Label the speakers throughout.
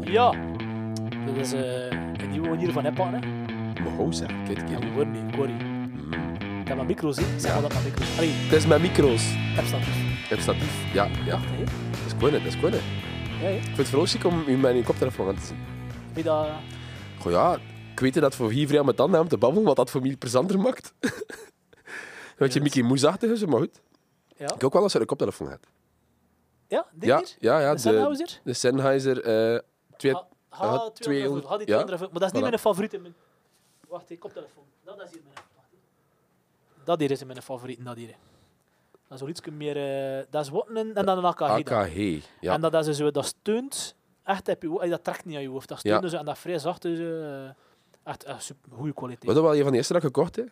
Speaker 1: Ja. Dit is eh, een nieuwe manier van inpakken.
Speaker 2: Mohosa, kijk,
Speaker 1: hè.
Speaker 2: kijk.
Speaker 1: En we worden niet, Corrie. Ik heb mijn micro's, hè. Zeg maar dat mijn micro's. Allee,
Speaker 2: Het is met micro's.
Speaker 1: heb staat.
Speaker 2: Ik heb statief. Ja, ja.
Speaker 1: Nee.
Speaker 2: Dat is gewoon, dat is gewoon. Ik
Speaker 1: Ja, hè.
Speaker 2: vind het vooral chic om u met uw koptelefoon aan te zien.
Speaker 1: Weet dat...
Speaker 2: Goh ja, ik weet dat het voor hier vrij met tanden aan te babbelen, wat dat voor mij plezanter maakt. Want je
Speaker 1: Yes.
Speaker 2: Mickey Moesachtig is, maar goed.
Speaker 1: Ja,
Speaker 2: Ik ook wel als je een koptelefoon gaat.
Speaker 1: ja dit
Speaker 2: Ja,
Speaker 1: hier?
Speaker 2: ja, ja.
Speaker 1: De Sennheiser?
Speaker 2: De Sennheiser. eh, twee,
Speaker 1: Ha,
Speaker 2: Ah,
Speaker 1: ha, 200.
Speaker 2: 200.
Speaker 1: Ha, die
Speaker 2: Ja.
Speaker 1: 200. Maar dat is niet
Speaker 2: Voilà.
Speaker 1: mijn favoriet. In mijn... Wacht, ik koptelefoon. Dat is hier mijn wacht, hè. Dat hier is mijn favoriet. Dat hier. hè. Dat is wel iets meer... eh, dat is Watten en dan een AKG. dan.
Speaker 2: AKG. Ja.
Speaker 1: En dat, is zo, dat steunt echt op je hoofd. Dat trekt niet aan je hoofd. Dat steunt
Speaker 2: Ja.
Speaker 1: zo, en dat vrij zacht is. eh, echt een super goede kwaliteit.
Speaker 2: Wat dat wel een van de eerste dat ik gekocht heb?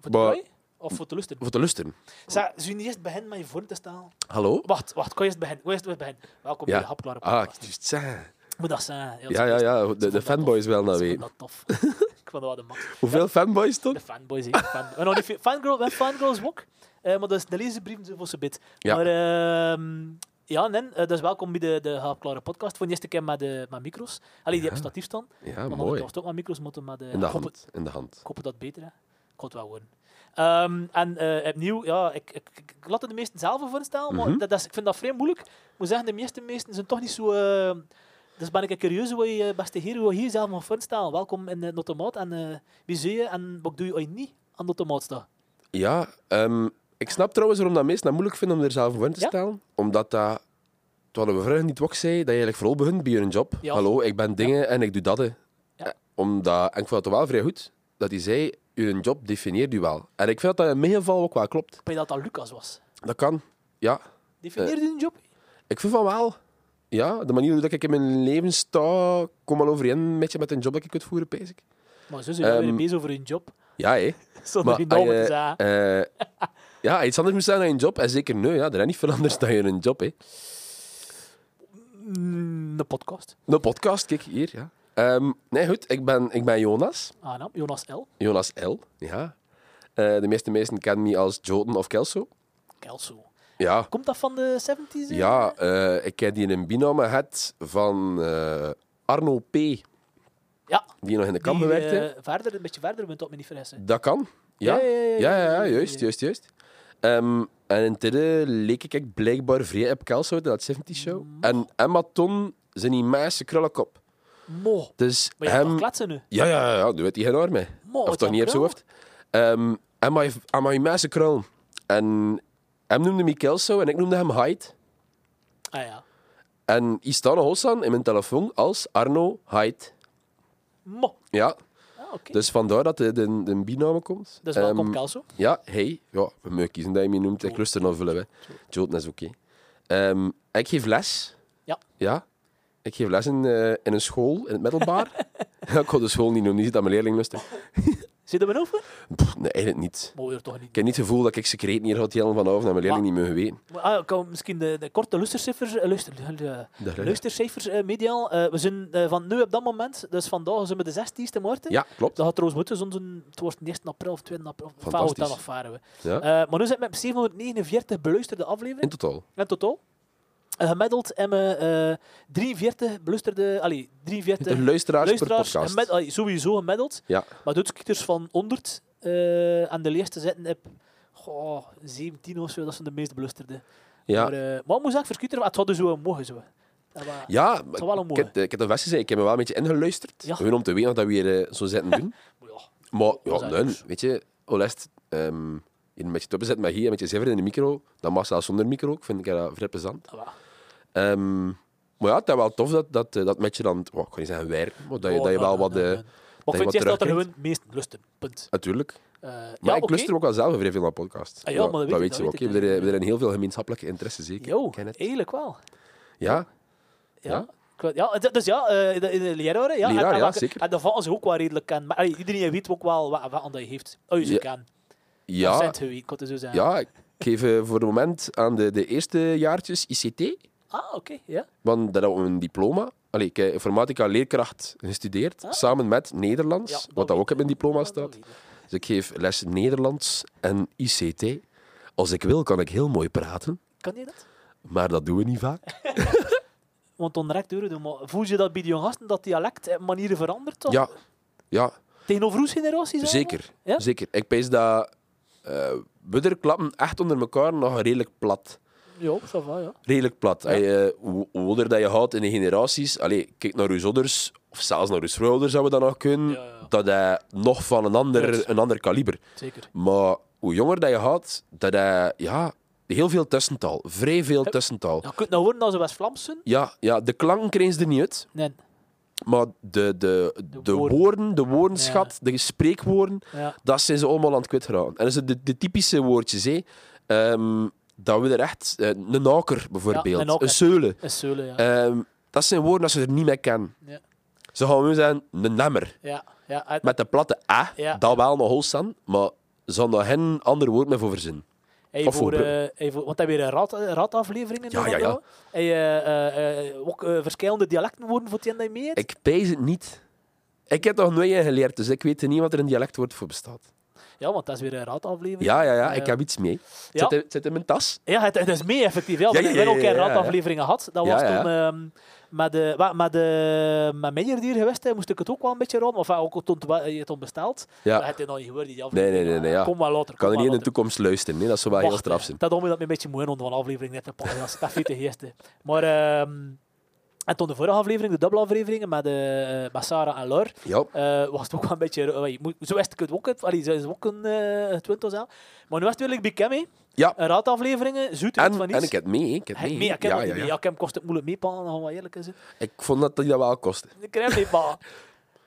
Speaker 1: Voor de
Speaker 2: Maar-
Speaker 1: prooi? Of voor de lusten?
Speaker 2: Voor te lusten.
Speaker 1: Zeg, zou je niet eerst beginnen met je vorm te staan?
Speaker 2: Hallo?
Speaker 1: Wacht, wacht. Kan je eerst beginnen? Kan je eerst beginnen? Welkom
Speaker 2: Ja.
Speaker 1: bij de Hapklare
Speaker 2: Ah,
Speaker 1: Podcast.
Speaker 2: ik juist zeggen.
Speaker 1: Moet dat zijn.
Speaker 2: Ja, ja, ja. De, de fanboys wel dat
Speaker 1: Ik vond
Speaker 2: weten.
Speaker 1: dat tof. ik vond dat wel de max.
Speaker 2: Hoeveel fanboys
Speaker 1: De
Speaker 2: toch?
Speaker 1: fanboys, hè. Fan... We hebben nog niet veel- fangirl, we hebben fangirls ook. Eh, maar dat is de lezersbrieven zijn voor ze bit.
Speaker 2: Ja.
Speaker 1: Maar ehm, ja, nee, eh, dus welkom bij de, de Hapklare Podcast. Voor de eerste keer met, de, met micro's. Allee, die
Speaker 2: Ja.
Speaker 1: op statief staan.
Speaker 2: Ja,
Speaker 1: Maar mooi.
Speaker 2: mooi.
Speaker 1: ook maar micro's moeten, maar de,
Speaker 2: In de
Speaker 1: ik, hoop het,
Speaker 2: hand. In de hand.
Speaker 1: ik hoop het dat het beter, hè. Ik hoop het wel gewoon. Ehm, en eh, opnieuw, ja, ik, ik, ik, ik laat het de meesten zelf voorstellen, maar
Speaker 2: Mhm.
Speaker 1: dat, dat is, ik vind dat vrij moeilijk. Ik moet zeggen, de meeste meesten zijn toch niet zo... eh, dus ben ik curieus hoe je, eh, beste heer, hoe je jezelf mag voorstellen. Welkom in uh, Notomaat en eh, wie zie je en wat doe je ooit niet aan Notomaat staan?
Speaker 2: Ja, ehm, ik snap trouwens waarom dat mensen dat moeilijk vinden om er zelf voor in te
Speaker 1: Ja?
Speaker 2: stellen. Omdat dat, terwijl we vroeger niet ook zei, dat je eigenlijk vooral begint bij je job.
Speaker 1: Ja.
Speaker 2: Hallo, ik ben dingen en ik doe dat. hè. Eh, Omdat, en ik vond het wel vrij goed dat hij zei, je job definieert u wel. En ik vind dat dat in mijn geval ook wel klopt.
Speaker 1: Ik weet dat dat Lucas was.
Speaker 2: Dat kan, ja.
Speaker 1: Defineer
Speaker 2: Eh,
Speaker 1: je een job?
Speaker 2: Ik vind van wel. Ja, de manier hoe dat ik in mijn leven sta, komt al overeen met, je- met een job dat ik uitvoeren, pees ik.
Speaker 1: Maar zo zijn we weer
Speaker 2: Ehm,
Speaker 1: bezig over een job,
Speaker 2: Ja, hé.
Speaker 1: zonder je
Speaker 2: als
Speaker 1: naam te
Speaker 2: je,
Speaker 1: zeggen.
Speaker 2: eh, ja, iets anders moet zijn dan een job. En zeker nu, ja, er is niet veel anders dan je een job. Hè.
Speaker 1: Mm, de podcast.
Speaker 2: Een podcast, kijk hier. Ja. Ehm, nee, goed, ik ben, ik ben Jonas.
Speaker 1: Ah, nou, Jonas L.
Speaker 2: Jonas L. Ja. Eh, de meeste mensen kennen me als Joten of Kelso.
Speaker 1: Kelso.
Speaker 2: Ja,
Speaker 1: Komt dat van de 70s? eh?
Speaker 2: ja eh, ik ken die in een binome het van eh, Arno P.,
Speaker 1: Ja,
Speaker 2: die nog in de kamp
Speaker 1: die,
Speaker 2: werkte.
Speaker 1: eh, verder, een beetje verder bent op me niet verrassen.
Speaker 2: Dat kan. Ja,
Speaker 1: Ja,
Speaker 2: ja,
Speaker 1: ja, ja,
Speaker 2: ja,
Speaker 1: ja, ja, ja, ja.
Speaker 2: juist, juist, juist. Ehm, en in Tidde leek ik echt blijkbaar vrij op Kelso, uit dat 70 show.
Speaker 1: Mm.
Speaker 2: En Emma Ton zijn immense krullenkop.
Speaker 1: Mo.
Speaker 2: Dus
Speaker 1: Maar je gaat
Speaker 2: hem...
Speaker 1: toch kletsen nu?
Speaker 2: Ja, ja, ja, ja, nu weet hij geen arm mee.
Speaker 1: Mo,
Speaker 2: of
Speaker 1: wat
Speaker 2: toch
Speaker 1: een
Speaker 2: niet op zijn
Speaker 1: krul.
Speaker 2: hoofd. Ehm, Emma heeft Emma heeft immense krullen. En hem noemde me Kelso en ik noemde hem Hyde.
Speaker 1: Ah ja.
Speaker 2: En hier staat nog Hossan in mijn telefoon als Arno Hyde.
Speaker 1: Mo.
Speaker 2: Ja,
Speaker 1: Ah, oké.
Speaker 2: dus vandaar dat de, de, de bijnaam komt.
Speaker 1: Dus welkom
Speaker 2: Ehm,
Speaker 1: Kelso.
Speaker 2: Ja, hey. Ja, we mogen kiezen dat je me noemt. Ik
Speaker 1: Joden.
Speaker 2: lust er nog vullen. Joten is oké. Ehm, ik geef les.
Speaker 1: Ja.
Speaker 2: Ja. Ik geef les in, eh, in een school, in het middelbaar. ik ga de school niet noemen, die zit aan mijn leerling lusten.
Speaker 1: Zit er ben over?
Speaker 2: Pff, nee, eigenlijk niet.
Speaker 1: Maar weer toch niet.
Speaker 2: Ik heb niet het gevoel dat ik secreet hier had jellen vanavond en mijn leerling niet mogen weten.
Speaker 1: Maar, ah, ik kan misschien de, de korte luistercijfers, eh, luister, eh,
Speaker 2: Dat-
Speaker 1: luistercijfers eh, mediaal. Eh, we zijn eh, van nu op dat moment, dus vandaag zijn we de 16e morgen.
Speaker 2: Ja, klopt.
Speaker 1: Dat gaat trouwens moeten, zo'n- zo'n- het wordt 1 april of 2 april. Enfin, hoe het dan
Speaker 2: Fantastisch.
Speaker 1: nog varen we.
Speaker 2: Ja.
Speaker 1: Eh, maar nu zijn we met 749 beluisterde afleveringen.
Speaker 2: In totaal.
Speaker 1: In totaal. eh, gemiddeld hebben we eh, 43 belusterde... Allee, 43
Speaker 2: De luisteraars,
Speaker 1: luisteraars.
Speaker 2: per
Speaker 1: gemiddeld-
Speaker 2: podcast.
Speaker 1: allee, sowieso gemiddeld.
Speaker 2: Ja.
Speaker 1: Maar doodskieters van 100 eh aan de leerste zitten op... Goh, 17 of zo, dat zijn de meest belusterde. Maar,
Speaker 2: Ja.
Speaker 1: eh, maar ik moet zeggen, verkieter, het hadden zo mogen zo. Dat wa-
Speaker 2: Ja,
Speaker 1: zou wel een
Speaker 2: ik
Speaker 1: mooie.
Speaker 2: heb, ik heb dat vast gezegd. Ik heb me wel een beetje ingeluisterd.
Speaker 1: Ja.
Speaker 2: Gewoon om te weten of dat we hier eh, zo zitten doen.
Speaker 1: Maar ja,
Speaker 2: Maar
Speaker 1: Dat
Speaker 2: ja,
Speaker 1: is
Speaker 2: nee,
Speaker 1: anders.
Speaker 2: weet je, Olest, ehm je een beetje te bezet met hier, een beetje zever in de micro, dan mag zelfs zonder micro ook, vind ik dat vrij plezant.
Speaker 1: dat wa-
Speaker 2: Ehm, maar ja, het is wel tof dat, dat, eh, dat met je dan, wow, ik kan niet zeggen werken, maar dat je,
Speaker 1: oh,
Speaker 2: dat je
Speaker 1: nee,
Speaker 2: wel
Speaker 1: nee,
Speaker 2: wat...
Speaker 1: nee, nee.
Speaker 2: eh
Speaker 1: Maar ik
Speaker 2: je
Speaker 1: vind
Speaker 2: wat
Speaker 1: eerst dat er
Speaker 2: terugkrijgt.
Speaker 1: gewoon meest lusten. Punt.
Speaker 2: natuurlijk.
Speaker 1: Eh,
Speaker 2: Maar
Speaker 1: ja,
Speaker 2: ik
Speaker 1: oké.
Speaker 2: luister ook wel zelf vrij veel naar podcasts.
Speaker 1: Ah ja, maar dat weet ik, dat
Speaker 2: je
Speaker 1: weet
Speaker 2: ook.
Speaker 1: ik,
Speaker 2: hè.
Speaker 1: ja.
Speaker 2: We hebben er- we hebben heel veel gemeenschappelijke interesse, zeker.
Speaker 1: Yo,
Speaker 2: Ik ken het.
Speaker 1: eigenlijk wel.
Speaker 2: Ja,
Speaker 1: Ja.
Speaker 2: Ja.
Speaker 1: Ik weet- ja, d- dus ja, eh, de, de leraren. Ja,
Speaker 2: Leraar,
Speaker 1: en, en,
Speaker 2: ja,
Speaker 1: welke-
Speaker 2: zeker.
Speaker 1: En dat vallen ze ook wel redelijk aan. Maar allee, iedereen weet ook wel wat, wat aan dat je heeft. Oh, je ze
Speaker 2: Ja.
Speaker 1: kan. Of
Speaker 2: ja,
Speaker 1: zijn het wie, ik kan het zo zeggen.
Speaker 2: ja, ik geef eh, voor het moment aan de, de eerste jaartjes ICT.
Speaker 1: Ah, oké. ja.
Speaker 2: Want dat hebben we een diploma. Allee, ik heb informatica leerkracht gestudeerd,
Speaker 1: Ah.
Speaker 2: samen met Nederlands,
Speaker 1: Ja,
Speaker 2: wat
Speaker 1: weet
Speaker 2: dat ook
Speaker 1: ik.
Speaker 2: op mijn diploma
Speaker 1: Dat
Speaker 2: staat.
Speaker 1: weet ik.
Speaker 2: Dus ik geef les Nederlands en ICT. Als ik wil, kan ik heel mooi praten,
Speaker 1: Kan je dat?
Speaker 2: maar dat doen we niet vaak.
Speaker 1: want onrecht euro doen. Maar voel je dat bij die gasten dat dialect en manieren verandert? toch?
Speaker 2: Ja, ja
Speaker 1: Tegenover uw generatie? zeg maar?
Speaker 2: zeker.
Speaker 1: Ja?
Speaker 2: zeker. Ik pees dat eh we er klappen echt onder elkaar nog redelijk plat.
Speaker 1: Ja, ça va, ja.
Speaker 2: redelijk plat. Als je, eh, hoe hoe ouder dat je houdt in de generaties, allee, kijk naar uw ouders, of zelfs naar uw voorouders zouden we dat nog kunnen,
Speaker 1: Ja, ja.
Speaker 2: dat hij nog van een
Speaker 1: Klopt.
Speaker 2: ander, een ander kaliber.
Speaker 1: Zeker.
Speaker 2: Maar hoe jonger dat je houdt, dat hij, ja, heel veel tussentaal. Vrij veel tussentaal.
Speaker 1: Ja, je kunt nou horen dat ze West-Vlaams zijn.
Speaker 2: Ja, ja de klanken kregen ze er niet uit,
Speaker 1: Nee.
Speaker 2: maar de, de, de,
Speaker 1: woorden.
Speaker 2: woorden. de woordenschat, de spreekwoorden,
Speaker 1: Ja.
Speaker 2: dat zijn ze allemaal aan het kwijtraken. En dat zijn de, de typische woordjes, hè. Ehm, dat we er echt... eh, een naker, bijvoorbeeld.
Speaker 1: naker.
Speaker 2: een zeulen.
Speaker 1: En Zeulen, ja.
Speaker 2: Ehm, dat zijn woorden dat ze er niet mee kennen.
Speaker 1: Ja.
Speaker 2: Ze gaan nu zijn een nemmer.
Speaker 1: ja, ja. uit-
Speaker 2: Met de platte A,
Speaker 1: Ja.
Speaker 2: dat wel nog hol staan, maar ze hadden daar geen ander woord mee voor verzinnen.
Speaker 1: Hey,
Speaker 2: Of
Speaker 1: voor,
Speaker 2: voor-
Speaker 1: eh, hey, voor- want hij weer een eh, rat, rat afleveringen.
Speaker 2: Ja, ja, ja.
Speaker 1: Hey, eh, eh, eh, ook eh, verschillende dialecten worden voor het einde mee. eet.
Speaker 2: Ik pijs het niet. Ik heb nog nooit in geleerd, dus ik weet niet wat er een dialectwoord voor bestaat.
Speaker 1: Ja, want dat is weer een rat aflevering.
Speaker 2: Ja, ja, ja,
Speaker 1: Eh,
Speaker 2: ik heb iets mee. Het,
Speaker 1: ja.
Speaker 2: zit, in, het zit in mijn tas.
Speaker 1: Ja, het, het is mee effectief. Ja,
Speaker 2: Ja,
Speaker 1: ja,
Speaker 2: ja,
Speaker 1: ik
Speaker 2: ja,
Speaker 1: ben ook
Speaker 2: ja,
Speaker 1: een
Speaker 2: ja, ja.
Speaker 1: radafleveringen had. Dat
Speaker 2: Ja,
Speaker 1: was
Speaker 2: ja.
Speaker 1: toen ehm, met, de, wa- met, de, met Meijer die hier geweest is, moest ik het ook wel een beetje rond. Of ja, ook toen het- je het bestaat. Maar
Speaker 2: Ja.
Speaker 1: het is nog niet gehoord, die
Speaker 2: Nee,
Speaker 1: aflevering.
Speaker 2: nee, nee, nee ja.
Speaker 1: Kom maar later.
Speaker 2: Ik kan er
Speaker 1: kom
Speaker 2: niet in
Speaker 1: maar
Speaker 2: de toekomst luisteren, nee. dat zou wel Ah, heel
Speaker 1: Wacht,
Speaker 2: straf
Speaker 1: hè.
Speaker 2: zijn.
Speaker 1: Dat doen we dat me een beetje moeilijk onder van een aflevering net te pakken. Dat is dat vind ik de eerste. Maar ehm, en toen de vorige aflevering, de dubbele afleveringen met, eh met Sarah en Lor,
Speaker 2: Ja,
Speaker 1: eh, was het ook wel een beetje. eh, je moet- zo is het ook, het- allee, zo is het ook een eh, twintig zelf. Maar nu was het wel ik bij Kim, hè.
Speaker 2: Ja.
Speaker 1: Een raad afleveringen, zoet uit
Speaker 2: en,
Speaker 1: Eh, van
Speaker 2: en
Speaker 1: iets.
Speaker 2: ik heb het mee. hè. Ik heb het
Speaker 1: Hij-
Speaker 2: mee.
Speaker 1: nee, ik heb
Speaker 2: ja,
Speaker 1: het
Speaker 2: ja,
Speaker 1: niet mee.
Speaker 2: ja.
Speaker 1: Ja, Kim kost het moeilijk meepalen, dan gaan we eerlijk zijn.
Speaker 2: Ik vond dat die dat wel kostte.
Speaker 1: Ik krijg meepalen.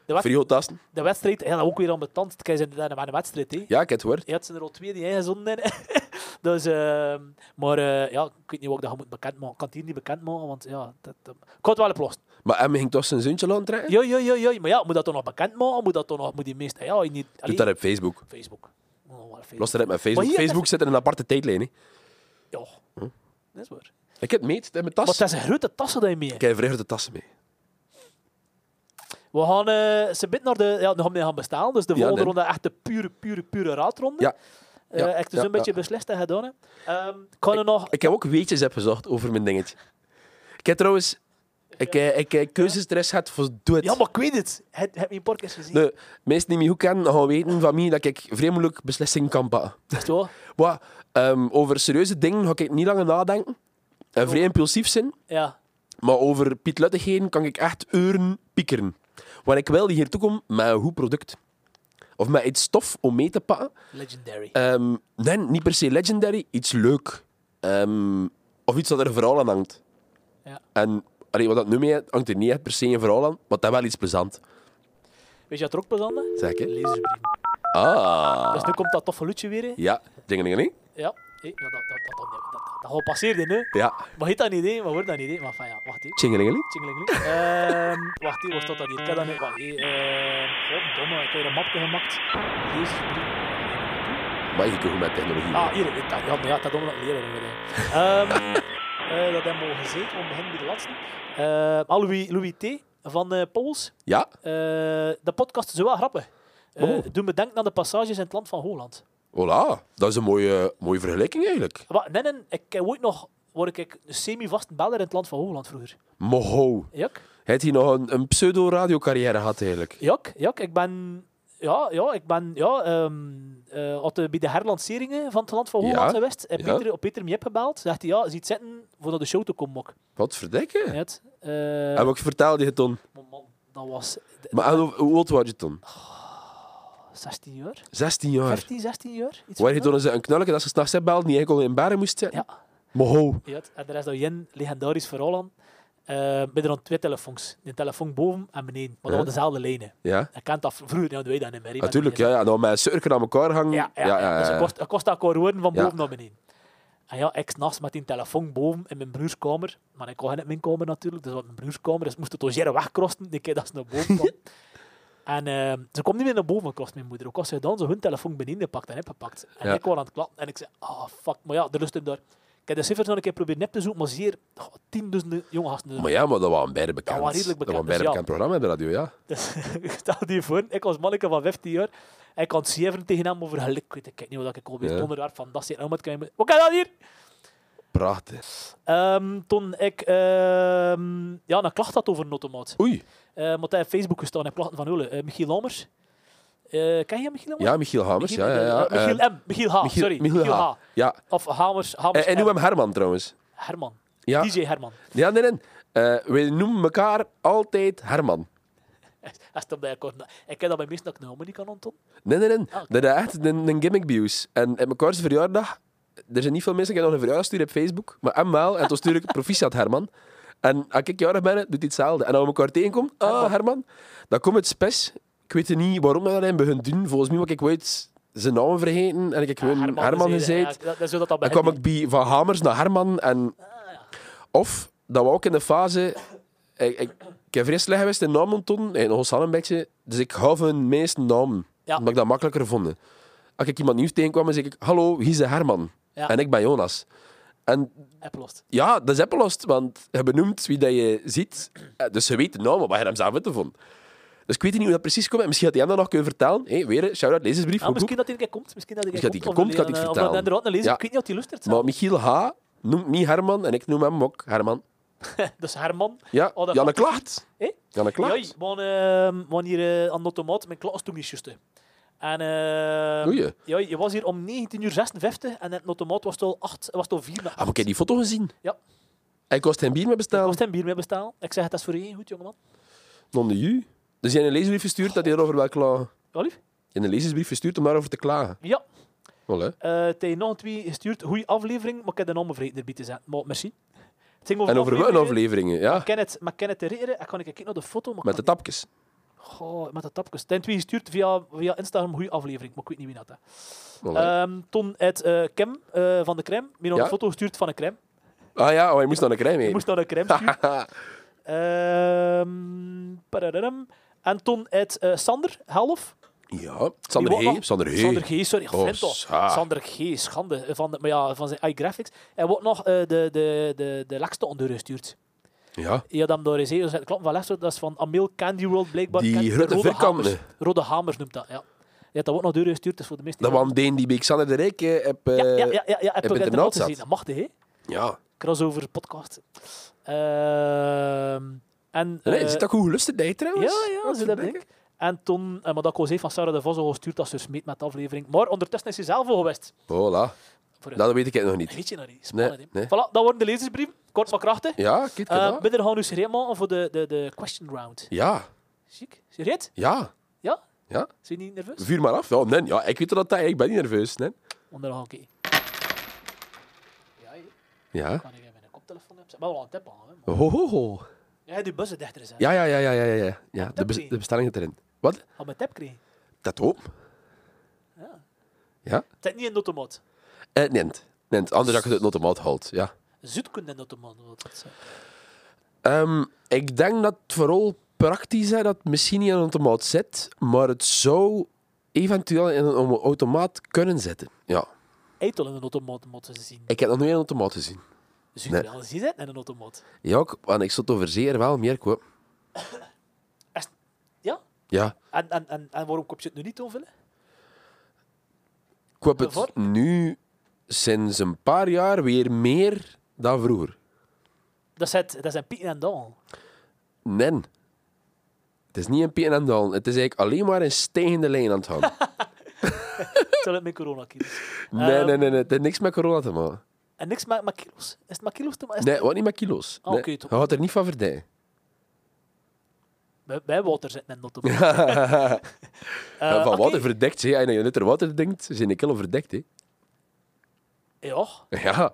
Speaker 1: Wat?
Speaker 2: Frigo-tasten?
Speaker 1: De wedstrijd, ja, dat ook weer aan mijn tand. Kijk, ze zijn maar een wedstrijd, hè.
Speaker 2: Ja, ik heb het woord.
Speaker 1: Je had ze er al twee die ingezonden hebben. dus, ehm, maar eh, ja, ik weet niet wat ik dat ga moeten bekendmaken. Ik kan het hier niet bekendmaken, want ja, dat, dat- ik had het wel oplossen.
Speaker 2: Maar Em ging toch zijn zoontje laten trekken?
Speaker 1: Ja, ja, ja, ja, maar ja, moet dat toch nog bekendmaken? Moet dat toch nog, moet die meest, ja, niet,
Speaker 2: Doe
Speaker 1: allee,
Speaker 2: dat op Facebook.
Speaker 1: Facebook. Moet nog wel Facebook.
Speaker 2: Los eruit met
Speaker 1: Maar
Speaker 2: Facebook.
Speaker 1: hier-
Speaker 2: Facebook zit in een aparte tijdlijn. Hè.
Speaker 1: Ja,
Speaker 2: Hm?
Speaker 1: dat is waar.
Speaker 2: Ik heb het mee, het zit in mijn
Speaker 1: Maar
Speaker 2: tas.
Speaker 1: dat zijn grote tassen die je mee
Speaker 2: Ik
Speaker 1: hebt.
Speaker 2: heb vrij de tassen mee.
Speaker 1: We gaan eh ze bit naar de, ja, nog mee gaan bestaan, dus de
Speaker 2: Ja,
Speaker 1: volgende
Speaker 2: nee.
Speaker 1: ronde echt de pure, pure, pure raadronde.
Speaker 2: Ja.
Speaker 1: Eh,
Speaker 2: Ja,
Speaker 1: echt dus
Speaker 2: ja,
Speaker 1: een beetje
Speaker 2: ja.
Speaker 1: beslist en gedaan. hè. Ehm, ik kan er nog...
Speaker 2: Ik heb ook weetjes opgezocht over mijn dingetje. Ik heb trouwens... Ik, eh, ik, ik keuzestress gehad voor doe het.
Speaker 1: Ja, maar ik weet het. Heb je mijn podcast gezien?
Speaker 2: Nee, mensen die mij goed kennen, gaan weten van mij dat ik vrij moeilijk beslissingen kan pakken.
Speaker 1: Dat is het wel.
Speaker 2: Wat, ehm, over serieuze dingen ga ik niet langer nadenken. En vrij impulsief zijn.
Speaker 1: Ja.
Speaker 2: Maar over Piet Luttigheden kan ik echt uren piekeren. Want ik wil hier toekomen met een goed product. Of met iets stof om mee te pakken.
Speaker 1: Legendary.
Speaker 2: Ehm, nee, niet per se legendary, iets leuk. Ehm, of iets dat er een verhaal aan hangt.
Speaker 1: Ja.
Speaker 2: En allee, wat dat nu mee hangt, hangt er niet echt per se een verhaal aan, maar dat wel iets plezant.
Speaker 1: Weet je wat er ook plezant is?
Speaker 2: Zeg ik, hè?
Speaker 1: Lezersbrief.
Speaker 2: Ah.
Speaker 1: Dus nu komt dat toffe loetje weer. hè.
Speaker 2: Ja, ding ding ding.
Speaker 1: Ja. Hé, ja, dat, dat, dat, dat, dat, dat, dat gaat passeren nu.
Speaker 2: Ja,
Speaker 1: Maar heet dat niet, hè? Maar wordt dat niet, hè? Maar enfin, ja, wacht even.
Speaker 2: tjingelingeling.
Speaker 1: Tjingelingeling. Ehm, wacht even, waar staat dat hier? Ik heb dat niet. Wacht even. Goddomme, ik heb hier een mapje gemaakt. Lezersbrief.
Speaker 2: Maar je kunt goed met technologie.
Speaker 1: Ah, hier. Ik, ja, maar ja, dat doen we nog leren. hè. Ehm, eh, dat hebben we al gezien. We beginnen bij de laatste. Eh, ah, Louis, Louis T. van eh Pauls.
Speaker 2: Ja,
Speaker 1: Eh, de podcast is wel grappig. Eh
Speaker 2: Oh.
Speaker 1: Doe me denken aan de passages in het land van Holland.
Speaker 2: voilà. Dat is een mooie, mooie vergelijking eigenlijk.
Speaker 1: Wa- nee, nee, ik ken ooit nog word ik een semi-vast beller in het land van Holland vroeger.
Speaker 2: Moho.
Speaker 1: Jak,
Speaker 2: Hij hier nog een, een pseudo-radiocarrière gehad eigenlijk.
Speaker 1: jak, jak. Ik ben, ja, ja, ik ben, ja, ehm eh, had de, bij de herlanceringen van het land van Holland
Speaker 2: Ja,
Speaker 1: geweest. Heb
Speaker 2: ja.
Speaker 1: Peter, op Peter Miep gebeld. Zegt hij, ja, ziet zitten voor naar de show te komen ook.
Speaker 2: Wat verdikken.
Speaker 1: Ja. het, eh,
Speaker 2: En wat vertelde je toen?
Speaker 1: maar man, dat was
Speaker 2: Maar en hoe hoe oud was je toen?
Speaker 1: 16 jaar.
Speaker 2: 16 jaar.
Speaker 1: 15, 16 jaar. Iets
Speaker 2: Oh, Waar je
Speaker 1: van dat.
Speaker 2: toen een knalletje dat ze s'nachts belden, die eigenlijk al in baren moest zitten?
Speaker 1: Ja.
Speaker 2: Moho.
Speaker 1: Ja, het- en er is dat Jen legendarisch verhaal aan. Eh met er dan twee telefoons. Een telefoon boven en beneden. Maar dat
Speaker 2: Ja.
Speaker 1: waren dezelfde lijnen.
Speaker 2: Ja.
Speaker 1: Je kent dat v- vroeger, nou, weet dat niet meer. hè,
Speaker 2: Natuurlijk,
Speaker 1: met
Speaker 2: ja, ja. Nou, met een suiker aan elkaar hangen.
Speaker 1: die- Ja, ja, ja, Dus ik kost, ik kost dat gewoon woorden van
Speaker 2: Ja.
Speaker 1: boven naar beneden. En ja, ik s'nachts met die telefoon boven in mijn broerskamer. Maar ik kon niet in mijn kamer natuurlijk, dus wat mijn broerskamer. Dus ik moest het doseren wegkrosten, de keer dat ze naar boven kwam. en eh, ze komt niet meer naar boven, kost mijn moeder. Ook als ze dan zo hun telefoon beneden gepakt en gepakt. En
Speaker 2: Ja.
Speaker 1: ik was aan het klappen en ik zei, ah fuck, maar ja, de lust hem daar. Ik heb de cijfers nog een keer proberen nep te zoeken, maar zeer oh, tienduizenden jonge gasten.
Speaker 2: Maar ja, maar dat was een beide bekend.
Speaker 1: Dat was redelijk
Speaker 2: Dat was een
Speaker 1: bekend,
Speaker 2: beide
Speaker 1: dus ja.
Speaker 2: bekend programma in de radio, ja.
Speaker 1: Dus stel die voor, ik was manneke van 15 jaar. Ik kan zeven tegen hem over geluk. Ik weet ik niet wat ik al bij het
Speaker 2: Ja.
Speaker 1: onderwerp van dat zit. Nou, wat kan je me- Wat kan dat hier?
Speaker 2: Prachtig.
Speaker 1: Ehm, toen ik ehm, ja, een klacht had over een automaat.
Speaker 2: Oei.
Speaker 1: Eh maar hij heeft Facebook gestaan en plachten van Hulle. Eh, Michiel Lammers. Eh, ken je Michiel Lammers?
Speaker 2: Ja, Michiel Hamers. Ja,
Speaker 1: Michiel,
Speaker 2: ja, ja.
Speaker 1: eh, Michiel M. Michiel H.
Speaker 2: Michiel-
Speaker 1: sorry.
Speaker 2: Michiel
Speaker 1: Michiel, H.
Speaker 2: H. ja. eh,
Speaker 1: Of Hamers. Hamers
Speaker 2: En, en
Speaker 1: M.
Speaker 2: noem hem Herman trouwens.
Speaker 1: Herman.
Speaker 2: Ja,
Speaker 1: DJ Herman.
Speaker 2: ja nee, nee. Eh, we noemen elkaar altijd Herman.
Speaker 1: Dat stond bij akkoord. Ik heb dat bij meestal dat ik nummer niet kan onthouden.
Speaker 2: Nee, nee, nee.
Speaker 1: Ah, oké.
Speaker 2: Dat is echt een, een gimmick bij ons. En op mijn zijn verjaardag, er zijn niet veel mensen die nog een verjaardag sturen op Facebook, maar hem wel. En toen stuur ik proficiat Herman. En als ik jarig ben, doet hij hetzelfde. En als we elkaar tegenkomen, ah,
Speaker 1: Herman.
Speaker 2: Herman, dan komt het spes. Ik weet niet waarom we dat hebben begonnen doen. Volgens mij, want ik weet zijn naam vergeten en ik heb
Speaker 1: Ah,
Speaker 2: gewoon Herman, gezegd.
Speaker 1: Ja, dat, dat is hoe dat dan
Speaker 2: Dan
Speaker 1: begint,
Speaker 2: kwam ik bij Van Hamers naar Herman. En...
Speaker 1: Ah,
Speaker 2: Of, dat we ook in de fase... Ik, ik, ik heb vrij slecht geweest in namen toen, en nog eens al een beetje. Dus ik hou van de meeste namen.
Speaker 1: Ja.
Speaker 2: Omdat ik dat makkelijker vond. Als ik iemand nieuws tegenkwam, dan zeg ik... Hallo, hier is de Herman.
Speaker 1: Ja.
Speaker 2: En ik ben Jonas. En
Speaker 1: hè. Opgelost.
Speaker 2: ja, dat is opgelost, want je benoemt wie dat je ziet. Eh, Dus ze weten nou, maar wat je hem zelf te vond. Dus ik weet niet hoe dat precies komt. En misschien had hij hem dat nog kunnen vertellen. Hé, weer een shout-out lezersbrief.
Speaker 1: Ja,
Speaker 2: goed boek.
Speaker 1: Ah, misschien dat hij een keer komt. Misschien dat hij een keer
Speaker 2: Misschien dat hij een
Speaker 1: Of
Speaker 2: keer komt,
Speaker 1: een- eh,
Speaker 2: kan ik
Speaker 1: of
Speaker 2: vertellen.
Speaker 1: een inderdaad een lezer.
Speaker 2: Ja.
Speaker 1: Ik weet niet of hij lustert.
Speaker 2: Maar Michiel H. noemt niet Herman en ik noem hem ook Herman.
Speaker 1: Dus Herman.
Speaker 2: Ja,
Speaker 1: Oh, dat
Speaker 2: Janne
Speaker 1: klopt.
Speaker 2: Klacht.
Speaker 1: Hé?
Speaker 2: Janne
Speaker 1: Ja,
Speaker 2: Klacht.
Speaker 1: ik woon, eh, woon hier eh, aan de automaat. Mijn klas toen niet juist. hè. En eh,
Speaker 2: Doe je?
Speaker 1: ja, je was hier om 19.56 uur en het automaat was tot 8, was tot 4 na
Speaker 2: Ah, maar ik heb die foto gezien.
Speaker 1: Ja.
Speaker 2: Hij kost hem bier mee
Speaker 1: Ik
Speaker 2: bestellen.
Speaker 1: moest hem bier mee bestellen. Ik zeg, het is voor één goed, jongeman.
Speaker 2: Non de ju. Dus jij hebt een lezersbrief verstuurd dat hij erover wil klagen.
Speaker 1: Ja, lief?
Speaker 2: Je hebt een lezersbrief verstuurd om daarover te klagen.
Speaker 1: Ja.
Speaker 2: Voilà.
Speaker 1: Eh, Het heeft nog een twee gestuurd. Goeie aflevering, maar ik heb de naam vergeten erbij te zetten. Maar merci. Het ging
Speaker 2: En over
Speaker 1: afleveringen.
Speaker 2: welke afleveringen? Ja,
Speaker 1: Ik ken het, maar ik ken het herinneren. Ik kan een keer kijken naar de foto. Maar
Speaker 2: met de
Speaker 1: ik
Speaker 2: tapjes.
Speaker 1: kan- Goh, met de tapjes. Het heeft twee gestuurd via, via Instagram. Goeie aflevering, maar ik weet niet wie dat is.
Speaker 2: Voilà.
Speaker 1: Ehm toen het eh, Kim eh, van de crème. Mij nog
Speaker 2: Ja?
Speaker 1: een foto gestuurd van een crème.
Speaker 2: ah ja, oh, hij moest naar de crème
Speaker 1: Ik
Speaker 2: heen.
Speaker 1: moest naar de crème sturen. Ehm, pararam. en toen het eh, Sander Half.
Speaker 2: Ja,
Speaker 1: Die
Speaker 2: Sander
Speaker 1: wou
Speaker 2: Hey.
Speaker 1: nog-
Speaker 2: Sander Hey.
Speaker 1: Sander G, sorry,
Speaker 2: Oh,
Speaker 1: vent toch.
Speaker 2: sa.
Speaker 1: Sander G, schande eh, van, de, maar ja, van zijn iGraphics. En wordt nog eh, de, de, de, de lekste onder gestuurd.
Speaker 2: Ja.
Speaker 1: Je had hem door eens heel zijn klopt van Lester, dat is van Amil Candy World blijkbaar.
Speaker 2: Die
Speaker 1: Candy-
Speaker 2: grote
Speaker 1: rode
Speaker 2: vierkanten.
Speaker 1: hamers. Rode hamers noemt dat, ja. Je hebt dat ook nog door gestuurd, dus voor de meeste.
Speaker 2: Dat was Deen die bij Xander de Rijk eh, heb... eh,
Speaker 1: ja, ja, ja, ja, ja, heb ik ook
Speaker 2: het
Speaker 1: uit de
Speaker 2: internaat
Speaker 1: naald
Speaker 2: zat.
Speaker 1: gezien. Dat mag, hè?
Speaker 2: ja.
Speaker 1: Crossover podcast. Ehm, en,
Speaker 2: Nee,
Speaker 1: eh,
Speaker 2: je ziet dat goed gelusten deed trouwens.
Speaker 1: Ja, ja,
Speaker 2: Wat
Speaker 1: zo dat
Speaker 2: verdikke.
Speaker 1: denk ik. En toen, eh, maar dat José van Sarah de Vos al gestuurd als ze smeet met de aflevering. Maar ondertussen is hij zelf al geweest.
Speaker 2: Voilà.
Speaker 1: Vooruit.
Speaker 2: Dat weet ik nog niet.
Speaker 1: Weet je nou niet? Spannend,
Speaker 2: Nee,
Speaker 1: hè?
Speaker 2: nee.
Speaker 1: Voilà, dat worden de lezersbrief. Kort maar krachtig.
Speaker 2: Ja, kijk
Speaker 1: Eh,
Speaker 2: dat.
Speaker 1: Binnen gaan we nu serieus maken voor de, de, de question round.
Speaker 2: Ja,
Speaker 1: Ziek? Serieus?
Speaker 2: ja.
Speaker 1: Ja?
Speaker 2: Ja.
Speaker 1: Zijn je niet nerveus?
Speaker 2: Vuur maar af. Ja, nee, ja, ik weet dat dat... Ik ben niet nerveus, nee.
Speaker 1: Onderhoud, oké. Ja, ik
Speaker 2: Ja.
Speaker 1: kan ik even mijn koptelefoon hebben. Maar we gaan tippen aan, hè. man.
Speaker 2: Ho, ho, ho.
Speaker 1: Ja, die bussen dichter zijn.
Speaker 2: Oh. Ja, ja, ja, ja, ja, ja, ja. ja de, bes- de bestelling zit erin. Wat?
Speaker 1: Had mijn tip gekregen.
Speaker 2: Dat hoop.
Speaker 1: Het zit niet in de automaat.
Speaker 2: Eh, nent. Nent. Anders dat je het not om houdt, ja.
Speaker 1: Zoetkunde in de automaat. wil dat zeggen.
Speaker 2: Ehm, ik denk dat het vooral praktisch is dat het misschien niet in een automaat zit, maar het zou eventueel in een automaat kunnen zitten. Ja.
Speaker 1: Eitel in een automaat moeten ze zien.
Speaker 2: Ik heb nog nooit in een automaat gezien.
Speaker 1: Zoek
Speaker 2: Nee.
Speaker 1: wel eens die zitten in een automaat.
Speaker 2: Ja, ook, want ik zat over zeer wel meer koop.
Speaker 1: Echt? Ja?
Speaker 2: Ja.
Speaker 1: En, en, en, en waarom koop je het nu niet aanvullen?
Speaker 2: Ik heb
Speaker 1: Voor?
Speaker 2: het nu sinds een paar jaar weer meer dan vroeger.
Speaker 1: Dat zijn, dat zijn pieken en dalen.
Speaker 2: Nee. Het is niet een pijn en dalen. Het is eigenlijk alleen maar een stijgende lijn aan het gaan.
Speaker 1: Stel het met coronakilo's.
Speaker 2: Nee,
Speaker 1: Ehm.
Speaker 2: nee, nee, nee. Het heeft niks met corona te maken.
Speaker 1: En niks met, met kilo's. Is het met kilo's te maken? Is
Speaker 2: Nee, wat niet met kilo's.
Speaker 1: Ah,
Speaker 2: Nee.
Speaker 1: oké,
Speaker 2: Je
Speaker 1: toch.
Speaker 2: gaat er niet van verdijen.
Speaker 1: het bij- Bij water zitten in een automaat. Eh,
Speaker 2: van
Speaker 1: oké.
Speaker 2: water verdekt, hè. En als je net er water denkt, zijn ik al verdekt, hè.
Speaker 1: Ja.
Speaker 2: Ja.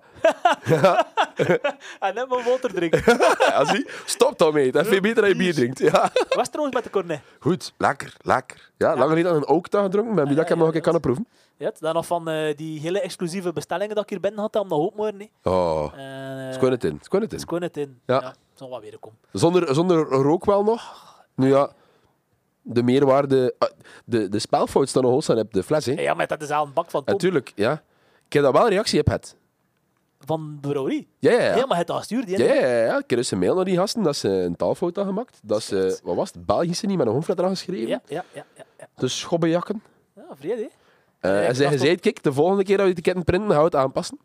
Speaker 1: En dan maar water drinken.
Speaker 2: ja Ah, zie. Stop daarmee. Dat is veel beter dat je bier drinkt. Ja.
Speaker 1: Was trouwens met de cornet?
Speaker 2: Goed. Lekker, lekker. Ja, langer niet aan een ookta gedronken. Ben je dat ik
Speaker 1: Ah, ja,
Speaker 2: hem nog een
Speaker 1: ja,
Speaker 2: keer kan proeven?
Speaker 1: Ja, dan nog van eh, die hele exclusieve bestellingen dat ik hier binnen had, om dat hoop maar niet.
Speaker 2: Oh.
Speaker 1: Uh,
Speaker 2: Schoon het in. Schoon het in.
Speaker 1: Schoon het in.
Speaker 2: Ja.
Speaker 1: Ja. zal wel weer komen.
Speaker 2: Zonder, zonder rook wel nog. Nu ja, de meerwaarde... ah, De, de spelfout staat nog los aan op de fles, hè.
Speaker 1: Ja, maar dat is al een bak van Tom,
Speaker 2: Natuurlijk, ja. Ik heb daar wel een reactie op gehad.
Speaker 1: van de brouwerie.
Speaker 2: Ja, ja,
Speaker 1: Ja,
Speaker 2: ja.
Speaker 1: maar het al stuurde.
Speaker 2: Ja, ja, ja, ja. Ik heb dus een mail naar die gasten dat ze een taalfout hadden gemaakt. Dat ze, wat was het, Belgische niet met een hoofdletter had geschreven.
Speaker 1: ja, ja, ja, ja, ja.
Speaker 2: Dus schobbejakken.
Speaker 1: ja vrede, hè?
Speaker 2: Eh,
Speaker 1: Ja,
Speaker 2: en
Speaker 1: ik
Speaker 2: zij
Speaker 1: dacht
Speaker 2: zei, kijk, de volgende keer dat we die etiketten printen, gaan we het aanpassen.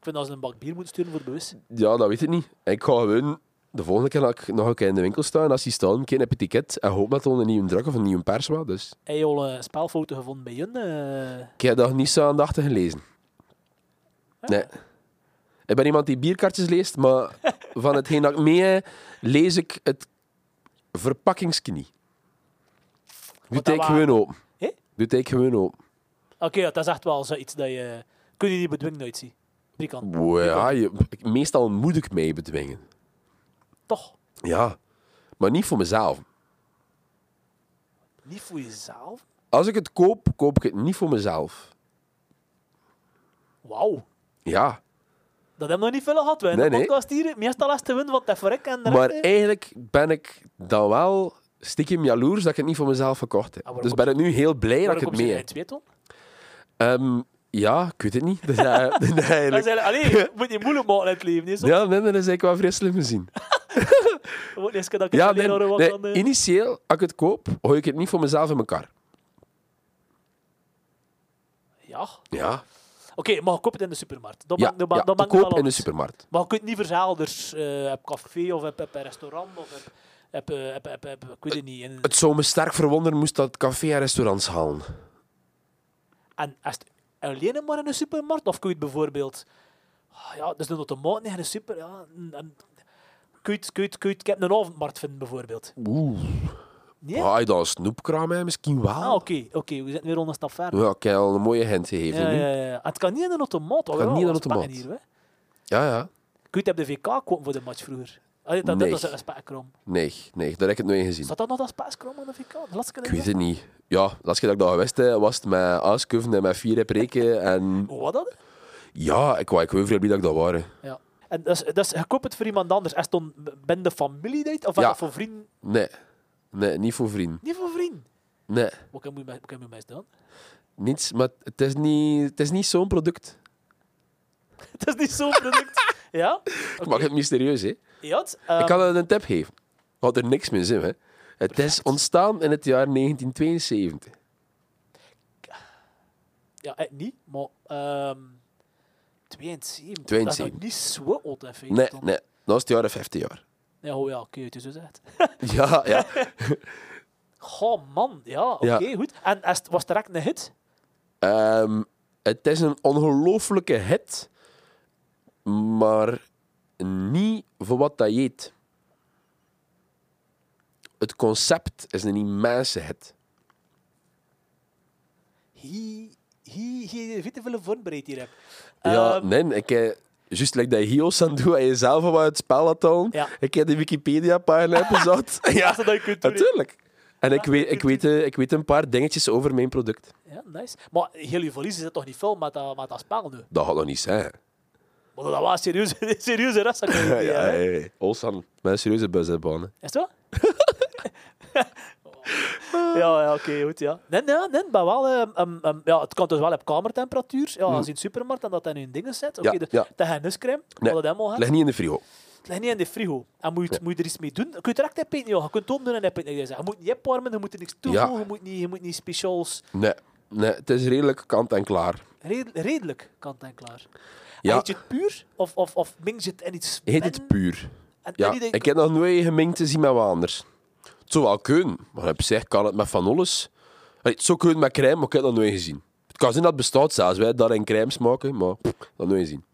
Speaker 1: vind dat ze een bak bier moeten sturen voor de bus.
Speaker 2: Ja, dat weet ik niet. Ik ga gewoon de volgende keer dat ik nog een keer in de winkel staan. Als die staan, een heb etiket en hoop dat er een nieuwe druk of een nieuwe pers was. Dus
Speaker 1: Heb je al een spelfoto gevonden bij hun? eh?
Speaker 2: ik heb dat niet zo aandachtig gelezen. Nee. Ik ben iemand die bierkaartjes leest, maar van hetgeen dat ik mee heb, lees ik het verpakkingsknie. Doe
Speaker 1: dat
Speaker 2: ik
Speaker 1: waren-
Speaker 2: gewoon open.
Speaker 1: Hé?
Speaker 2: Doe ik gewoon open.
Speaker 1: Oké, ja, dat is echt wel zoiets dat je... Kun je die bedwingen nooit zien. Die kan.
Speaker 2: Wow, ja, je, meestal moet ik mee bedwingen.
Speaker 1: Toch.
Speaker 2: Ja, maar niet voor mezelf.
Speaker 1: Niet voor jezelf.
Speaker 2: Als ik het koop, koop ik het niet voor mezelf.
Speaker 1: Wauw.
Speaker 2: Ja,
Speaker 1: Dat hebben we nog niet veel gehad. We in
Speaker 2: Nee,
Speaker 1: de
Speaker 2: nee.
Speaker 1: podcast hier. Meestal is te winnen, want dat voor ik en de
Speaker 2: maar
Speaker 1: rest, eh.
Speaker 2: eigenlijk ben ik dan wel stiekem jaloers dat ik het niet voor mezelf verkocht
Speaker 1: Ah,
Speaker 2: heb.
Speaker 1: waarom
Speaker 2: dus ben ik nu heel blij dat
Speaker 1: Waarom
Speaker 2: ik het
Speaker 1: komt ze
Speaker 2: mee
Speaker 1: geen
Speaker 2: heb.
Speaker 1: twee ton?
Speaker 2: Ehm, ja, ik weet het niet. Dat is eigenlijk- dat is
Speaker 1: Dat is
Speaker 2: eigenlijk...
Speaker 1: eigenlijk- Allee, je moet je moeilijk maken in het leven. Niet zo.
Speaker 2: Ja, nee, nee, dat is eigenlijk wel vrij slim gezien.
Speaker 1: Je moet eerst dat ik
Speaker 2: Ja,
Speaker 1: het
Speaker 2: nee,
Speaker 1: alleen hoor wat
Speaker 2: nee,
Speaker 1: dan, eh.
Speaker 2: initieel, als ik het koop, gooi ik het niet voor mezelf in elkaar.
Speaker 1: Ja.
Speaker 2: Ja,
Speaker 1: Oké, maar je koopt het in de supermarkt. Dat
Speaker 2: ja,
Speaker 1: maakt- dat maakt-
Speaker 2: ja,
Speaker 1: dat
Speaker 2: te
Speaker 1: maakt wel
Speaker 2: koop in de
Speaker 1: uit.
Speaker 2: supermarkt.
Speaker 1: Maar je kunt niet verzaalders eh op café of op, op een restaurant of op, op, eh, op, op, op- ik weet het niet. En,
Speaker 2: Het zou me sterk verwonderen moest dat café en restaurants halen.
Speaker 1: en is het alleen maar in een supermarkt? Of kun je het bijvoorbeeld... Ah ja, dus een automaat in een super... Ja, en, en- kun je het, kun je het, kun je het, ik heb een avondmarkt vinden bijvoorbeeld.
Speaker 2: Oeh,
Speaker 1: Nee?
Speaker 2: ja? je dan een snoepkraam hè, misschien wel.
Speaker 1: Ah, oké. oké, we zitten weer al een stap verder.
Speaker 2: Ja, ik heb al een mooie hint gegeven
Speaker 1: Ja,
Speaker 2: nu.
Speaker 1: ja, ja. En Het kan niet in een automaat. Het
Speaker 2: kan niet in een automaat.
Speaker 1: Hier, hè.
Speaker 2: Ja, ja.
Speaker 1: Kun je het op de VK kopen voor de match vroeger? Allee, dat,
Speaker 2: Nee.
Speaker 1: dat was een spekrom.
Speaker 2: Nee, nee, daar heb ik het nooit gezien.
Speaker 1: Zat dat nog als spekrom aan de VK? De laatste keer
Speaker 2: Ik
Speaker 1: dat
Speaker 2: weet het niet. Ja, de laatste keer dat ik dat geweest heb, was het met Aaskuven en met vier preken. En
Speaker 1: Hoe was Oh, dat?
Speaker 2: ja, ik wou gewoon vrij blij dat ik dat waren.
Speaker 1: Ja. En dat is, dat is, je koopt het voor iemand anders. Is het dan ben de familie deed? Of is
Speaker 2: Ja.
Speaker 1: dat voor vrienden?
Speaker 2: Nee. Nee, niet voor vrienden.
Speaker 1: Niet voor vrienden.
Speaker 2: Nee,
Speaker 1: Wat kan je mij- wat kan je mij eens doen?
Speaker 2: niets. Maar het is niet, het is niet zo'n product.
Speaker 1: Het is niet zo'n product. ja?
Speaker 2: Ik mag het mysterieus, hè.
Speaker 1: Ja, het,
Speaker 2: Ik
Speaker 1: ehm,
Speaker 2: kan het een tip geven. Had er niks mee zin, hè. Het is ontstaan in het jaar 1972.
Speaker 1: ja, eh, niet, maar... ehm 72. Dat is
Speaker 2: 72.
Speaker 1: nog niet zo oud, hè,
Speaker 2: Nee,
Speaker 1: dan.
Speaker 2: nee. Dat is het jaar 50 jaar.
Speaker 1: Ja, oh, ja oké, het is zo zegt.
Speaker 2: Ja, ja.
Speaker 1: Goh, man. Ja, oké,
Speaker 2: Ja.
Speaker 1: goed. En is het- was het direct een hit?
Speaker 2: Ehm, het is een ongelofelijke hit, maar niet voor wat dat je eet. Het concept is een immense hit.
Speaker 1: Hier, hier, hier, weet je hoeveel vormbreed hier heb.
Speaker 2: ja,
Speaker 1: Ehm,
Speaker 2: nee, ik heb, juist like dat je Hios aan doet en je zelf al wat het spel had al.
Speaker 1: Ja.
Speaker 2: Ik heb de Wikipedia-pagina gezet. ja,
Speaker 1: laatste dat je kunt doen, hè.
Speaker 2: natuurlijk. En ik
Speaker 1: Laatste
Speaker 2: weet,
Speaker 1: dat je
Speaker 2: ik,
Speaker 1: kunt
Speaker 2: weet, eh, ik weet een paar dingetjes over mijn product.
Speaker 1: Ja, nice. Maar heel je verlies is het toch niet veel met dat, met dat spel nu?
Speaker 2: Dat gaat nog niet zijn.
Speaker 1: Maar dat was serieus, serieuze rest.
Speaker 2: Ja, ja,
Speaker 1: ¿eh?
Speaker 2: ja. Olsan, mijn serieuze bus hebben.
Speaker 1: Is dat? ja, ja oké, goed, ja. Nee, nee, nee, maar wel, ehm, ehm, ehm, ja, het kan dus wel op kamertemperatuur. Ja, als je in de supermarkt en dat dan in dingen zet, oké,
Speaker 2: Mm. Ja,
Speaker 1: de-
Speaker 2: ja.
Speaker 1: dat je niscrème,
Speaker 2: Nee,
Speaker 1: wat dat helemaal hebt,
Speaker 2: Leg niet in de frigo.
Speaker 1: het ligt niet in de frigo. En moet je, het- moet je er iets mee doen? Je kunt direct op eten, joh. je kunt het opdoen en op eten. Je moet niet opwarmen, je moet er niks toevoegen, je, moet niet, je moet niet speciaals...
Speaker 2: Nee, nee, het is redelijk kant en klaar.
Speaker 1: Redelijk, redelijk kant en klaar.
Speaker 2: Ja.
Speaker 1: Eet je het puur? Of, of, of meng je het in iets...
Speaker 2: Heet
Speaker 1: en-
Speaker 2: het puur?
Speaker 1: en- en
Speaker 2: Ja,
Speaker 1: niet dat je-
Speaker 2: ik heb nog nooit gemengd te zien met wat anders. Het zou wel kunnen, maar op zich kan het met van alles. Allee, het zou kunnen met crème, maar ik heb dat nooit gezien. Het kan zijn dat het bestaat zelfs, wij daar in crème smaken, maar pff, dat nooit gezien.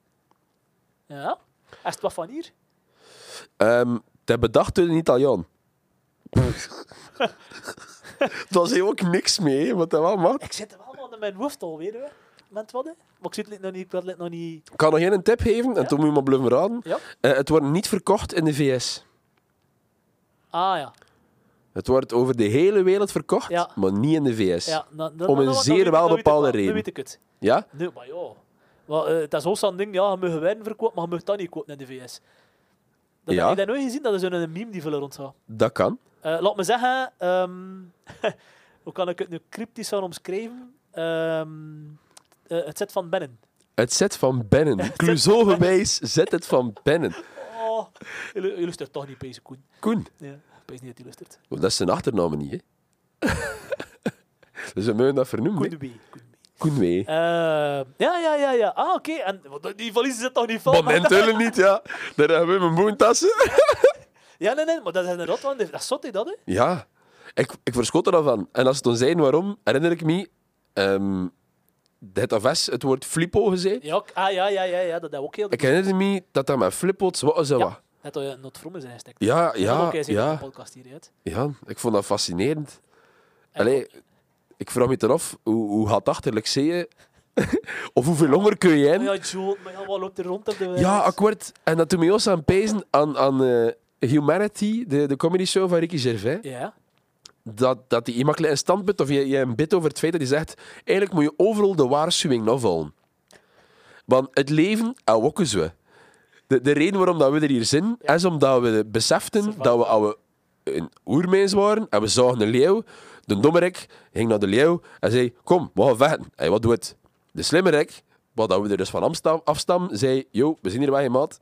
Speaker 1: Ja? Is het wat van hier?
Speaker 2: Ehm het is bedacht door een Italiaan. Daar zei ook niks mee, wat dat wel mag.
Speaker 1: Ik zit er wel aan mijn hoofd alweer, hè. Moment wat, hè. Maar ik zit het nog niet... Ik wil het nog niet...
Speaker 2: Ik kan nog één een tip geven, en toen moet je maar blijven raden.
Speaker 1: Ja?
Speaker 2: Eh, het wordt niet verkocht in de VS.
Speaker 1: Ah, ja.
Speaker 2: Het wordt over de hele wereld verkocht,
Speaker 1: Ja.
Speaker 2: maar niet in de VS.
Speaker 1: ja nou, nou,
Speaker 2: Om
Speaker 1: nou,
Speaker 2: een
Speaker 1: nou,
Speaker 2: zeer
Speaker 1: nou weet ik-
Speaker 2: wel
Speaker 1: nou weet ik
Speaker 2: bepaalde
Speaker 1: wel,
Speaker 2: reden.
Speaker 1: Nu weet ik het.
Speaker 2: Ja?
Speaker 1: Nee, maar ja. Maar, eh, dat is ook zo'n ding, ja, je mag wijn verkopen, maar je mag dat niet kopen in de VS. Dat
Speaker 2: Ja.
Speaker 1: heb ik dat nooit gezien, dat is een meme die veel rondgaat.
Speaker 2: Dat kan.
Speaker 1: Eh, laat me zeggen, ehm, hoe kan ik het nu cryptisch gaan omschrijven? Ehm, eh, het zit van binnen.
Speaker 2: Het zet van Bennen. Clouseau gewijs zet het van Bennen.
Speaker 1: Oh, je lu- je luistert toch niet, Pees Koen.
Speaker 2: Koen,
Speaker 1: Ja, ik weet niet dat hij luistert.
Speaker 2: dat is zijn achternaam niet, hè? dus we moeten dat vernoemen.
Speaker 1: Koen
Speaker 2: hè.
Speaker 1: de B. Koen de B.
Speaker 2: Koenwee.
Speaker 1: Eh, ja, ja, ja, ja. Ah, oké. En want Die valiezen zitten toch niet
Speaker 2: Oh,
Speaker 1: vol? Ah,
Speaker 2: Momenteel niet, ja. Daar hebben we mijn boentassen.
Speaker 1: Ja, nee, nee, maar dat is een rot, want dat is zot, hè, dat, hè?
Speaker 2: Ja, ik, ik verschot er dan van. En als ze dan zeiden waarom, herinner ik me... ehm het AVS, het woord flippo gezegd.
Speaker 1: Ja, ook- ah, ja, ja, ja, ja, dat dat ook heel...
Speaker 2: Ik herinner me dat dat met flippots wat is dat
Speaker 1: ja,
Speaker 2: wat?
Speaker 1: dat je een not vroeger zijn gestekt.
Speaker 2: Ja,
Speaker 1: Dat heb ik
Speaker 2: ja,
Speaker 1: ook eens in de
Speaker 2: ja,
Speaker 1: podcast hier, uit.
Speaker 2: ja. Ik vond dat fascinerend. Allee, ik vraag me dan af, hoe, hoe gaat dat achterlijk zeeën? of hoeveel honger kun je in?
Speaker 1: Maar Oh ja, Jules, maar ja, wat loopt er rond op de wereld?
Speaker 2: Ja, akkoord. En dat toen mij ons aan het pezen aan, aan eh, Humanity, de, de comedy show van Ricky Gervais.
Speaker 1: Ja.
Speaker 2: dat, dat die iemand een standpunt of je, je een bit over het feit dat hij zegt eigenlijk moet je overal de waarschuwing afvallen. Want het leven, ah, en wokken ze. De, de reden waarom dat we er hier zijn, is omdat we beseften
Speaker 1: Survival.
Speaker 2: dat we oude een oermens waren en we zagen een leeuw. De dommerik ging naar de leeuw en zei, kom, we gaan vechten. Hey, wat doet het? De slimmerik, wat dat we er dus van afstam, afstam zei, yo, we zijn hier weg, maat.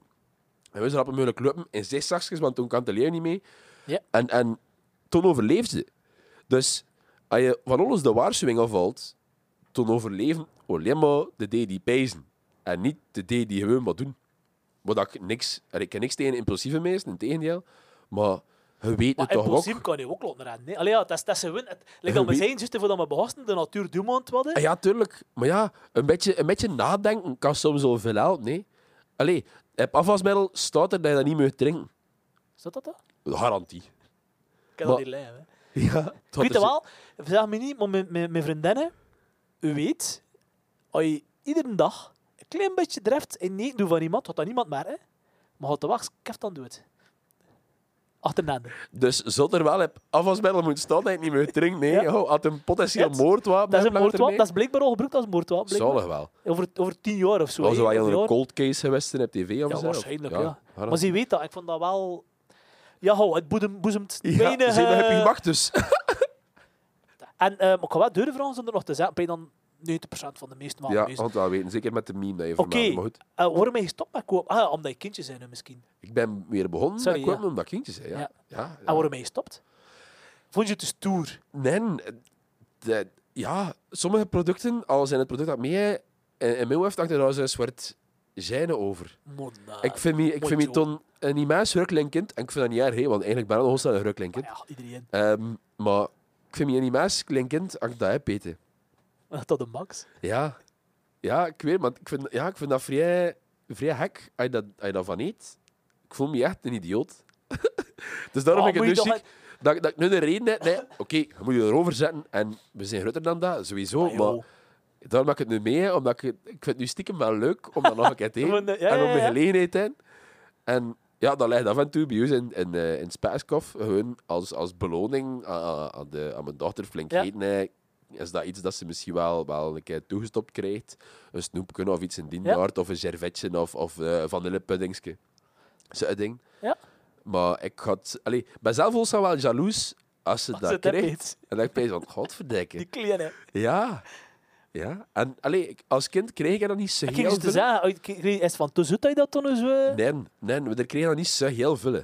Speaker 2: En we rappen moeilijk lopen in zes zakjes, want toen kan de leeuw niet mee.
Speaker 1: Ja.
Speaker 2: En, en toen overleefde ze. Dus als je van alles de waarschuwing afvalt, toen overleven alleen maar de D die pijzen. En niet de D die gewoon wat doen. Wat ik niks, en ik ken niks tegen impulsieve mensen, in tegendeel. Maar je weet
Speaker 1: Maar
Speaker 2: het toch
Speaker 1: in
Speaker 2: ook.
Speaker 1: principe kan je ook lopen rennen. Nee? Allee, ja, dat is, dat is een win. Het, like dat we
Speaker 2: Wie-
Speaker 1: zijn, juist voordat we begasten, de natuur doet ons wat. hè.
Speaker 2: Ah Ja, tuurlijk. Maar ja, een beetje, een beetje nadenken kan soms al veel helpen, nee. Allee, heb afwasmiddel staat er dat je dat niet moet drinken.
Speaker 1: Is dat dat? dan?
Speaker 2: Garantie.
Speaker 1: Ik kan
Speaker 2: Maar-
Speaker 1: dat niet lijmen. hè.
Speaker 2: Ja.
Speaker 1: Ik weet het wel, vraag me niet, maar mijn, mijn, mijn vriendinnen, u weet, als je iedere dag een klein beetje drift en nee doet van iemand, had dat niemand maar, hè? Maar had de wacht, keft dan doet. Achterna.
Speaker 2: Dus zult er wel heb afwasmiddel moet staan dat je het niet meer drinkt. Nee,
Speaker 1: Ja.
Speaker 2: oh, had een potentieel
Speaker 1: Ja,
Speaker 2: moordwapen.
Speaker 1: Dat is een
Speaker 2: heb, langt
Speaker 1: moordwapen, dat
Speaker 2: ermee.
Speaker 1: is blijkbaar al gebruikt als moordwapen. blijkbaar.
Speaker 2: Zalig wel.
Speaker 1: Over, over tien jaar of zo.
Speaker 2: Was
Speaker 1: hè,
Speaker 2: wel
Speaker 1: of
Speaker 2: een
Speaker 1: jaar.
Speaker 2: cold case geweest en op tv of
Speaker 1: Ja,
Speaker 2: zo?
Speaker 1: waarschijnlijk, ja.
Speaker 2: waarom?
Speaker 1: Maar ze weet dat, ik vond dat wel... Ja, ho, het boezem- boezemt
Speaker 2: Ja,
Speaker 1: weinig...
Speaker 2: ze hebben
Speaker 1: eh,
Speaker 2: je macht dus.
Speaker 1: En eh, maar ik ga wel deuren vragen zonder nog te zeggen, ben je dan 90% van de meesten wel
Speaker 2: Ja,
Speaker 1: aanwezig?
Speaker 2: want dat weten. Zeker met de meme dat je
Speaker 1: dus- Oké.
Speaker 2: vermaakt. Maar goed,
Speaker 1: Eh, waarom ben je gestopt met kopen? Ah, omdat je kindjes zijn nu misschien.
Speaker 2: ik ben weer begonnen
Speaker 1: Sorry,
Speaker 2: met kopen
Speaker 1: ja.
Speaker 2: omdat ik kindjes hè,
Speaker 1: Ja.
Speaker 2: Ja. Ja. Ja,
Speaker 1: En waarom ben je gestopt? Vond je het dus stoer?
Speaker 2: Nee, de- ja, sommige producten, al zijn het product dat mij in in mijn hoofd hangt er nou zo'n soort gêne over.
Speaker 1: Monna.
Speaker 2: ik vind me, ik
Speaker 1: Ah, mooi
Speaker 2: vind me
Speaker 1: zo.
Speaker 2: toen een immens ruklinkend, en ik vind dat niet erg, hè, want eigenlijk ben ik nog een snel ruklinkend.
Speaker 1: ah, Ja, iedereen.
Speaker 2: Ehm, maar ik vind me een immens klinkend als ik dat heb, Peter.
Speaker 1: Tot de max.
Speaker 2: Ja. Ja, ik weet, maar ik vind, ja, ik vind dat vrij, vrij hek als je dat, als je dat van eet. Ik voel me echt een idioot. dus daarom
Speaker 1: Oh,
Speaker 2: vind ik
Speaker 1: moet
Speaker 2: het
Speaker 1: je
Speaker 2: nu
Speaker 1: toch
Speaker 2: ziek dat, ik- dat ik nu de reden heb. Nee, oké, je moet je erover zetten en we zijn groter dan dat, sowieso.
Speaker 1: Ah, joh.
Speaker 2: Oh, maar daarom heb ik het nu mee, omdat ik, het- ik vind het nu stiekem wel leuk om dat nog een keer te eten.
Speaker 1: Gewoon, eh, ja,
Speaker 2: en om de
Speaker 1: ja, ja.
Speaker 2: gelegenheid in. En ja, dat ligt af en toe bij ons in, in, eh, in Spijskoff. Gewoon als, als beloning aan- aan, aan, de, aan mijn dochter flink
Speaker 1: Ja.
Speaker 2: eten. eh, Is dat iets dat ze misschien wel, wel een keer toegestopt krijgt? Een snoepje of iets in die
Speaker 1: Ja.
Speaker 2: aard, of een servetje of, of eh vanillepuddingske. Zo'n ding.
Speaker 1: Ja.
Speaker 2: Maar ik had, allee, ik ben zelf ook zo wel jaloers als ze
Speaker 1: Als
Speaker 2: dat
Speaker 1: het dat
Speaker 2: krijgt.
Speaker 1: weet.
Speaker 2: En dan denk ik, van, godverdikke.
Speaker 1: Die kleine.
Speaker 2: Ja. Ja. En allee, ik- als kind kreeg ik dat niet zo
Speaker 1: Ik ging
Speaker 2: heel
Speaker 1: dus te
Speaker 2: veel.
Speaker 1: zeggen, oh, ik kreeg- is het van te zoet dat je dat toen eens... eh,
Speaker 2: Nee, nee, we kregen dat niet zo heel veel.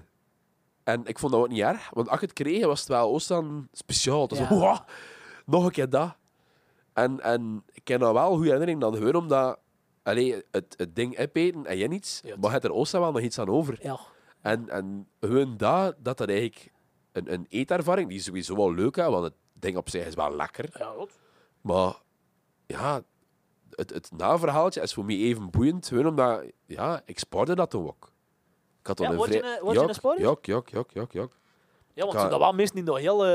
Speaker 2: En ik vond dat ook niet erg, want als ik het kreeg, was het wel Oostan speciaal. Dus
Speaker 1: Ja.
Speaker 2: nog een keer dat. En, en ik ken dat wel een goede herinnering dan gewoon omdat allee, het, het ding opeten en jij niets,
Speaker 1: Ja, het-
Speaker 2: maar je hebt er Oostan wel nog iets aan over.
Speaker 1: Ja.
Speaker 2: En, en gewoon dat, dat dat eigenlijk een, een eetervaring, die is sowieso wel leuk is, want het ding op zich is wel lekker.
Speaker 1: Ja, goed.
Speaker 2: Maar ja, het, het naverhaaltje is voor mij even boeiend. Gewoon omdat, ja, ik spaarde dat toen ook. Ik had dan
Speaker 1: Ja,
Speaker 2: een
Speaker 1: word je
Speaker 2: vrij-
Speaker 1: een- word je een
Speaker 2: Jok,
Speaker 1: spaarder?
Speaker 2: Jok, jok, jok, jok, jok.
Speaker 1: Ja, want
Speaker 2: Ja.
Speaker 1: ze dat wel mensen die nog heel... eh,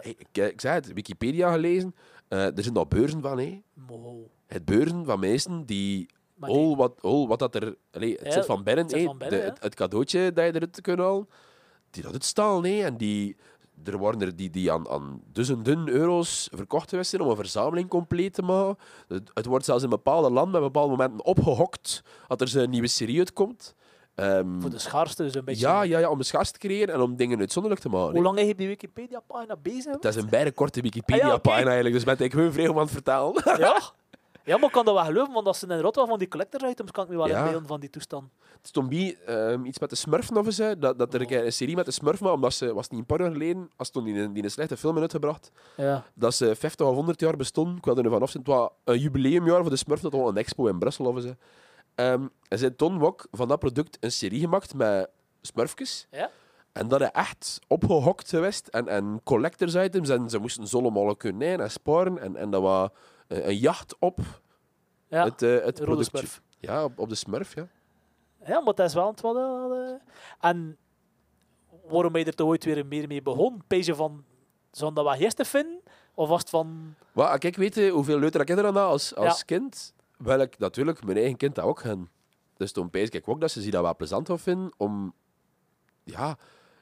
Speaker 2: Hey, ik, eh, ik zei het, Wikipedia gelezen. eh, er zijn al beurzen van, hè.
Speaker 1: mo.
Speaker 2: Het beurzen van mensen die...
Speaker 1: Maar die-
Speaker 2: Oh wat, oh, wat dat er... Allee, het
Speaker 1: Ja,
Speaker 2: zit van binnen,
Speaker 1: het zit
Speaker 2: hè.
Speaker 1: van binnen,
Speaker 2: De-
Speaker 1: ja.
Speaker 2: het, het cadeautje dat je eruit kunt halen. Die dat het stal, hè. En die... Er waren er die, die aan, aan duizenden euro's verkocht geweest zijn om een verzameling compleet te maken. Het, het wordt zelfs in bepaalde landen bij bepaalde momenten opgehokt dat er zo'n nieuwe serie uitkomt. Ehm,
Speaker 1: Voor de schaarste dus een beetje...
Speaker 2: ja, ja, ja, om een schaars te creëren en om dingen uitzonderlijk te maken. hè.
Speaker 1: Hoe lang heb je die Wikipedia-pagina bezig?
Speaker 2: Dat is een bijna korte Wikipedia-pagina
Speaker 1: Ah, ja, oké.
Speaker 2: eigenlijk, dus ben ik gewoon vrij om aan het vertalen.
Speaker 1: Ja? Ja, maar ik kan dat wel geloven, want als ze in Rotterdam van die collector items kan ik me wel
Speaker 2: Ja.
Speaker 1: inbeelden van die toestand.
Speaker 2: Stombie, ehm iets met de Smurfen of zo. Dat, dat er een keer een serie met de Smurfen was, omdat ze, was het niet een paar jaar geleden, als toen die, een- die een slechte film had uitgebracht,
Speaker 1: Ja.
Speaker 2: dat ze 50 of 100 jaar bestond. Ik wilde er vanaf zijn. Het was een jubileumjaar voor de Smurfen, dat was wel een expo in Brussel of zo. Ehm en ze had Ton Wok van dat product een serie gemaakt met Smurfjes.
Speaker 1: Ja?
Speaker 2: En dat is echt opgehokt geweest. En, en collectors items. En ze moesten zolle molen konijn en sparen. En, en dat was een, een jacht op
Speaker 1: Ja,
Speaker 2: het, eh het
Speaker 1: de rode
Speaker 2: productje.
Speaker 1: smurf.
Speaker 2: Ja, op, op de smurf, ja.
Speaker 1: Ja, maar dat is wel het wat... eh, en waarom ben je er toch ooit weer meer mee begonnen? Pees je van, zo'n dat wat gisteren vinden? Of was het van...
Speaker 2: Maar ah, kijk, weet je hoeveel leuter ik er aan had als, als
Speaker 1: Ja.
Speaker 2: kind? Wel, ik natuurlijk mijn eigen kind dat ook gaan. Dus toen pees ik ook dat ze zich dat wel plezant zou vinden om... Ja,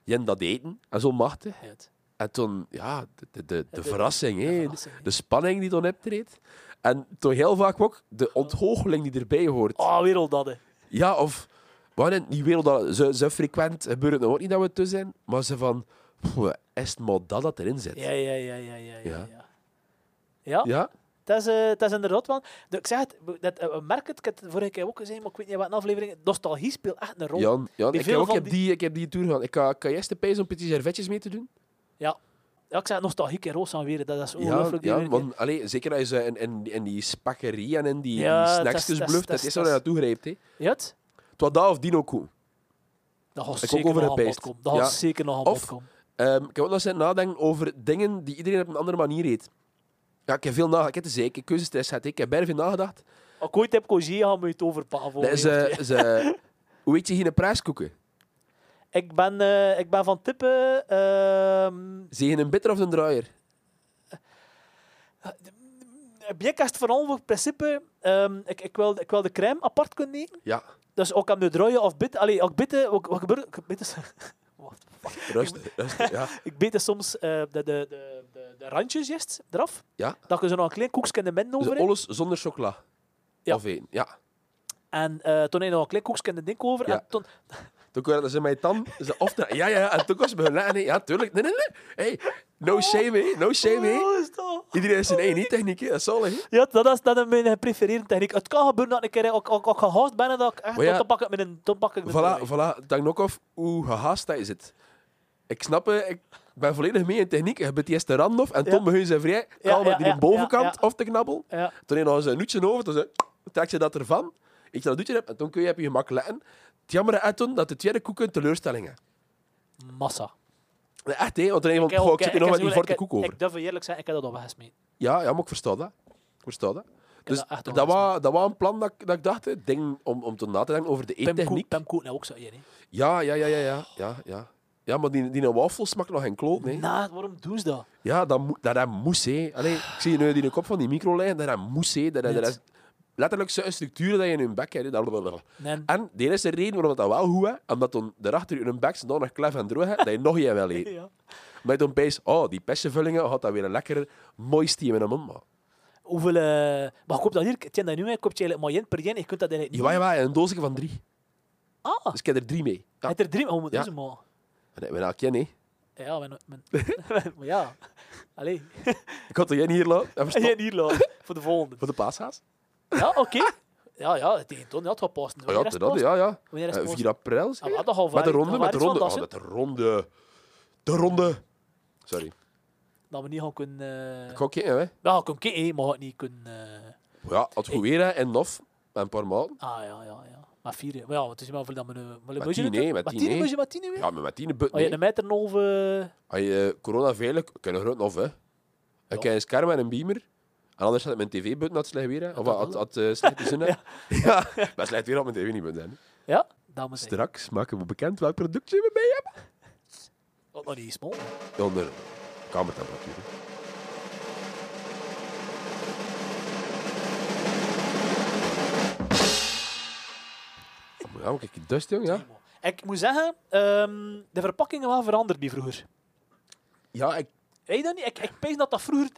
Speaker 2: jen dat eten. En zo machtig.
Speaker 1: Ja, het-
Speaker 2: En toen, ja, de, de, de, de
Speaker 1: de-
Speaker 2: verrassing,
Speaker 1: de
Speaker 2: hè.
Speaker 1: verrassing, hè.
Speaker 2: De spanning die toen optreedt. En toen heel vaak ook de onthoogeling die erbij hoort.
Speaker 1: Oh, wereld dat, hè.
Speaker 2: Ja, of... Wat in die wereld, dat- zo, zo frequent gebeurt het nog ook niet dat we te zijn. Maar ze van... "Pff, Is het maar dat dat erin zit?
Speaker 1: Ja, ja, ja, ja, ja, ja.
Speaker 2: Ja.
Speaker 1: ja. Ja,
Speaker 2: Ja?
Speaker 1: dat is, eh, dat is inderdaad wel. de- Ik zeg het, we- dat, eh, we merken het, ik heb het vorige keer ook gezegd, maar ik weet niet wat een aflevering. Nostalgie speelt echt een rol. Ja,
Speaker 2: Jan, Jan
Speaker 1: Bij
Speaker 2: ik, heb
Speaker 1: veel
Speaker 2: ook,
Speaker 1: van
Speaker 2: ik heb
Speaker 1: Oh. die-
Speaker 2: die, ik heb die tour gehad. Ik kan, kan eerst de pijs om petits servetjes mee te doen.
Speaker 1: ik zeg het, nostalgie en roos aan weer, Oh, dat is
Speaker 2: Ja,
Speaker 1: ongelooflijk. die
Speaker 2: ja
Speaker 1: wereld.
Speaker 2: want allee, zeker als je in, in, in die spakkerie en in die,
Speaker 1: Ja,
Speaker 2: die
Speaker 1: dat is-
Speaker 2: snacksjes
Speaker 1: dat is-
Speaker 2: bluft,
Speaker 1: dat
Speaker 2: dat
Speaker 1: is-
Speaker 2: is eerst waar je
Speaker 1: dat
Speaker 2: naartoe grijpt. hè.
Speaker 1: Ja, het?
Speaker 2: Het was dat of Dino Koe.
Speaker 1: Dat gaat
Speaker 2: Ik
Speaker 1: zeker
Speaker 2: ook over
Speaker 1: nog aan bod
Speaker 2: gepijst.
Speaker 1: komen. Dat gaat
Speaker 2: Ja.
Speaker 1: zeker nog aan
Speaker 2: Of-
Speaker 1: bod komen.
Speaker 2: Ehm, ik heb ook nog eens nadenken over dingen die iedereen op een andere manier eet. Ja, ik heb veel nagedacht. Ik heb de zeik, ik heb keuzestress gehad. hè. Ik heb bijna veel nagedacht.
Speaker 1: Als ik ooit heb cogé, gaan we het over Pavel.
Speaker 2: Nee, ze, ze, eh, hoe eet je geen prijskoeken?
Speaker 1: Ik, ben, eh, ik ben van tippen... ehm
Speaker 2: Zeg je een bitter of een draaier?
Speaker 1: Bierkast vooral voor het principe... ehm, ik, ik, wil, ik wil de crème apart kunnen eten.
Speaker 2: Ja,
Speaker 1: Dus ook aan de draaien of bitten. Allee, ook bitten. Ook, wat gebeurt er? Ik bitten- Wat?
Speaker 2: rustig. rustig ja.
Speaker 1: Ik beten soms eh, de, de, de, de, de randjes juist eraf.
Speaker 2: Ja.
Speaker 1: Dat je zo nog een klein koekje in de midden
Speaker 2: Dus
Speaker 1: over hebt.
Speaker 2: alles zonder chocola.
Speaker 1: Ja.
Speaker 2: Of één. Ja.
Speaker 1: En eh, toen heb je nog een klein koekje in de ding over.
Speaker 2: Ja.
Speaker 1: En toen,
Speaker 2: Toen kwamen ze mijn tand. Ze of ja, ja, ja. En toen was ze bij hun lachen, hè. Ja, tuurlijk. Nee, nee, nee. Hey, no shame, hè. No shame, hè.
Speaker 1: Oh, is dat?
Speaker 2: Iedereen heeft zijn eigen techniek, hè. Dat is zalig, hè.
Speaker 1: Ja, dat is, dat is mijn geprefereerde techniek. Het kan gebeuren dat ik een keer ook, ook, ook gehaast ben en dat ik echt...
Speaker 2: Maar ja,
Speaker 1: dan pak ik met een... Dan pak ik met
Speaker 2: Voilà, voilà. Dank nog af hoe gehaast dat je zit. Ik snap het. Ik ben volledig mee in techniek. Je bent eerst de rand af en
Speaker 1: Ja.
Speaker 2: toen begon ze vrij. Kalm
Speaker 1: ja,
Speaker 2: met die
Speaker 1: ja,
Speaker 2: bovenkant
Speaker 1: ja, ja.
Speaker 2: of te knabbel.
Speaker 1: Ja.
Speaker 2: Toen heb je nog eens een nootje over. Toen zei- trek je dat ervan. Ik dat doetje heb en toen kun je heb je gemak letten. Het jammer is toen dat de tweede koeken teleurstellingen.
Speaker 1: Massa.
Speaker 2: Echt, hè? Want dan denk je van, goh, ik zit hier nog met die
Speaker 1: voor
Speaker 2: vorige koek over.
Speaker 1: Ik durf je eerlijk zijn, ik heb dat al weggesmeten.
Speaker 2: Ja, ja, maar ik versta dat. Ik versta dat. Dus
Speaker 1: dat echt wel
Speaker 2: dat was, dat was een plan dat, ik- dat ik dacht, hè. ding om, om toen na te denken over de
Speaker 1: Pim Koek,
Speaker 2: eettechniek.
Speaker 1: Pim Koek nou ook zo één, hè.
Speaker 2: Ja, ja, ja, ja, ja, ja, ja. Ja, maar die, die wafel smaakt nog geen kloot, nee.
Speaker 1: Nou, waarom doen ze dat?
Speaker 2: Ja, dat, moet- dat, dat moest, hè. Allee, ik zie nu die kop van die micro liggen, dat, dat moest, hè. Dat, dat, dat is letterlijk zo'n structuur dat je in hun bek hebt. hè. Dat- dat- dat-
Speaker 1: Nee.
Speaker 2: En de eerste reden waarom dat wel goed is, omdat dan daarachter in hun bek ze nog een klef en droog hebt, dat je nog jij wel eet.
Speaker 1: Ja.
Speaker 2: Maar je dan pees, oh, die pessenvullingen had dat weer een lekker mooi stiem in de mond, man.
Speaker 1: Hoeveel... eh, Maar ik koop dat hier, ik ken dat nu, hè. ik koop het eigenlijk maar één per één. Je kunt dat eigenlijk
Speaker 2: Jawel,
Speaker 1: niet...
Speaker 2: jawel, een doosje van drie.
Speaker 1: Ah,
Speaker 2: Dus ik heb er drie mee. Ja.
Speaker 1: het er drie... Oh, moet
Speaker 2: Ja.
Speaker 1: doen ze maar.
Speaker 2: Maar nee, maar ken, hè.
Speaker 1: Ja, mijn... mijn maar ja. Allee.
Speaker 2: Ik had er geen hier laten. en
Speaker 1: En
Speaker 2: verstopt
Speaker 1: jij hier laat, voor de volgende.
Speaker 2: Voor de paashaas.
Speaker 1: Ja, oké. Ja, ja, tegen Ton, ja, het gaat passen.
Speaker 2: Oh, ja,
Speaker 1: Wanneer is het
Speaker 2: dat,
Speaker 1: passen?
Speaker 2: ja, ja.
Speaker 1: Wanneer is het
Speaker 2: Eh,
Speaker 1: passen?
Speaker 2: 4 april. zeg
Speaker 1: Ah, wel,
Speaker 2: je?
Speaker 1: dat gaat
Speaker 2: Met de
Speaker 1: waar-
Speaker 2: ronde,
Speaker 1: dat
Speaker 2: met de
Speaker 1: waar iets
Speaker 2: ronde.
Speaker 1: van,
Speaker 2: Oh,
Speaker 1: dat
Speaker 2: met de ronde. De ronde. Sorry.
Speaker 1: Dat we niet gaan kunnen...
Speaker 2: Ik
Speaker 1: eh
Speaker 2: ga kijken, hè.
Speaker 1: Ja, ik kan kijken, hè, maar ik niet kunnen... eh,
Speaker 2: Ja, het goed weer, hè. En nof. En een paar maanden.
Speaker 1: Ah, ja, ja, ja. Maar vier, hè. maar ja, het is maar veel dat we nu... Maar moet je
Speaker 2: tien,
Speaker 1: het
Speaker 2: hè,
Speaker 1: doen?
Speaker 2: met
Speaker 1: Maar
Speaker 2: tien,
Speaker 1: tien,
Speaker 2: hè.
Speaker 1: moet je maar tien, hè, weer?
Speaker 2: Ja, maar met die but
Speaker 1: Als je
Speaker 2: nee.
Speaker 1: een meter en een half... eh,
Speaker 2: Als je eh, corona veilig... Ik heb een groot nof, hè. Ik heb een scherm en een beamer. En anders had ik mijn tv-button had slecht weer, hè. Of
Speaker 1: dat
Speaker 2: had,
Speaker 1: wel.
Speaker 2: had eh, slechte zin, hè. ja. maar slecht weer had mijn tv niet button, hè.
Speaker 1: Ja, dames en heren.
Speaker 2: Straks maken we bekend welk productje we bij hebben.
Speaker 1: Wat nog Oh, niet eens, man.
Speaker 2: Onder kamertemperatuur. hè. Oh, maar Ja, maar kijk, die dust, jong, ja.
Speaker 1: Ik moet zeggen, ehm, de verpakkingen waren veranderd die vroeger.
Speaker 2: Ja, ik,
Speaker 1: Weet je dat niet? Ik, ik pees dat dat vroeger...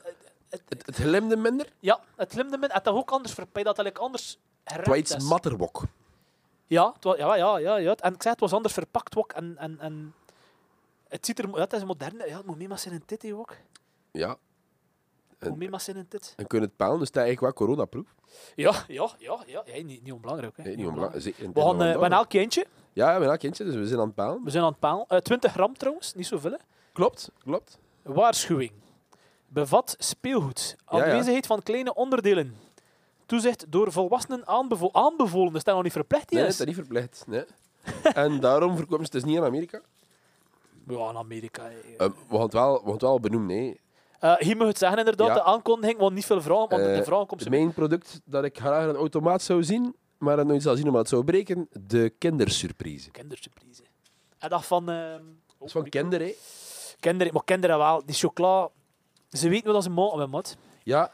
Speaker 2: het, het glimde minder. Het
Speaker 1: Ja, het limde men. Het had ook anders verpakt, dat eigenlijk anders gerept
Speaker 2: was iets
Speaker 1: is.
Speaker 2: matterwok.
Speaker 1: Ja, het wa- ja, ja, ja, ja. En ik zei, het was anders verpakt ook. En, en, en het ziet er... mo- Ja, het is moderne. Ja, het moet mee maar zijn in dit hè, ook.
Speaker 2: Ja.
Speaker 1: Hoe meer massa in dit?
Speaker 2: En kunnen het palen, dus dat is eigenlijk wel coronaproof.
Speaker 1: Ja, ja, ja. ja. ja niet, niet onbelangrijk. Hè.
Speaker 2: Nee, niet onbelangrijk. Zeker in
Speaker 1: We
Speaker 2: dit
Speaker 1: gaan
Speaker 2: moment
Speaker 1: eh,
Speaker 2: wel.
Speaker 1: we gaan elk eentje.
Speaker 2: Ja, we gaan kindje, dus we zijn aan het palen.
Speaker 1: We zijn aan het paal. 20 gram trouwens, niet zoveel. hè.
Speaker 2: Klopt, klopt.
Speaker 1: Waarschuwing. Bevat speelgoed.
Speaker 2: Ja, ja.
Speaker 1: Aanwezigheid van kleine onderdelen. Toezicht door volwassenen aanbevo aanbevolen. Dat staat nog niet verplicht
Speaker 2: Nee,
Speaker 1: hier.
Speaker 2: dat is niet verplicht. Nee. en daarom verkopen ze het dus niet in Amerika.
Speaker 1: Ja, in Amerika. hè.
Speaker 2: Eh, we gaan het wel, we gaan het wel benoemen. Hè.
Speaker 1: Eh, hier moet het zeggen inderdaad,
Speaker 2: Ja.
Speaker 1: de aankondiging, want niet veel vrouwen, want de
Speaker 2: Eh,
Speaker 1: vrouwen komt
Speaker 2: Het
Speaker 1: ze
Speaker 2: mijn product dat ik graag aan een automaat zou zien, maar dat nooit zal zien omdat het zou breken, de kindersurprise.
Speaker 1: kindersurprise. En dat van... ehm
Speaker 2: Dat is van kinderen, hè.
Speaker 1: kinderen. Maar kinderen wel, die chocola, ze weten wat ze oh, maken met mat.
Speaker 2: Ja.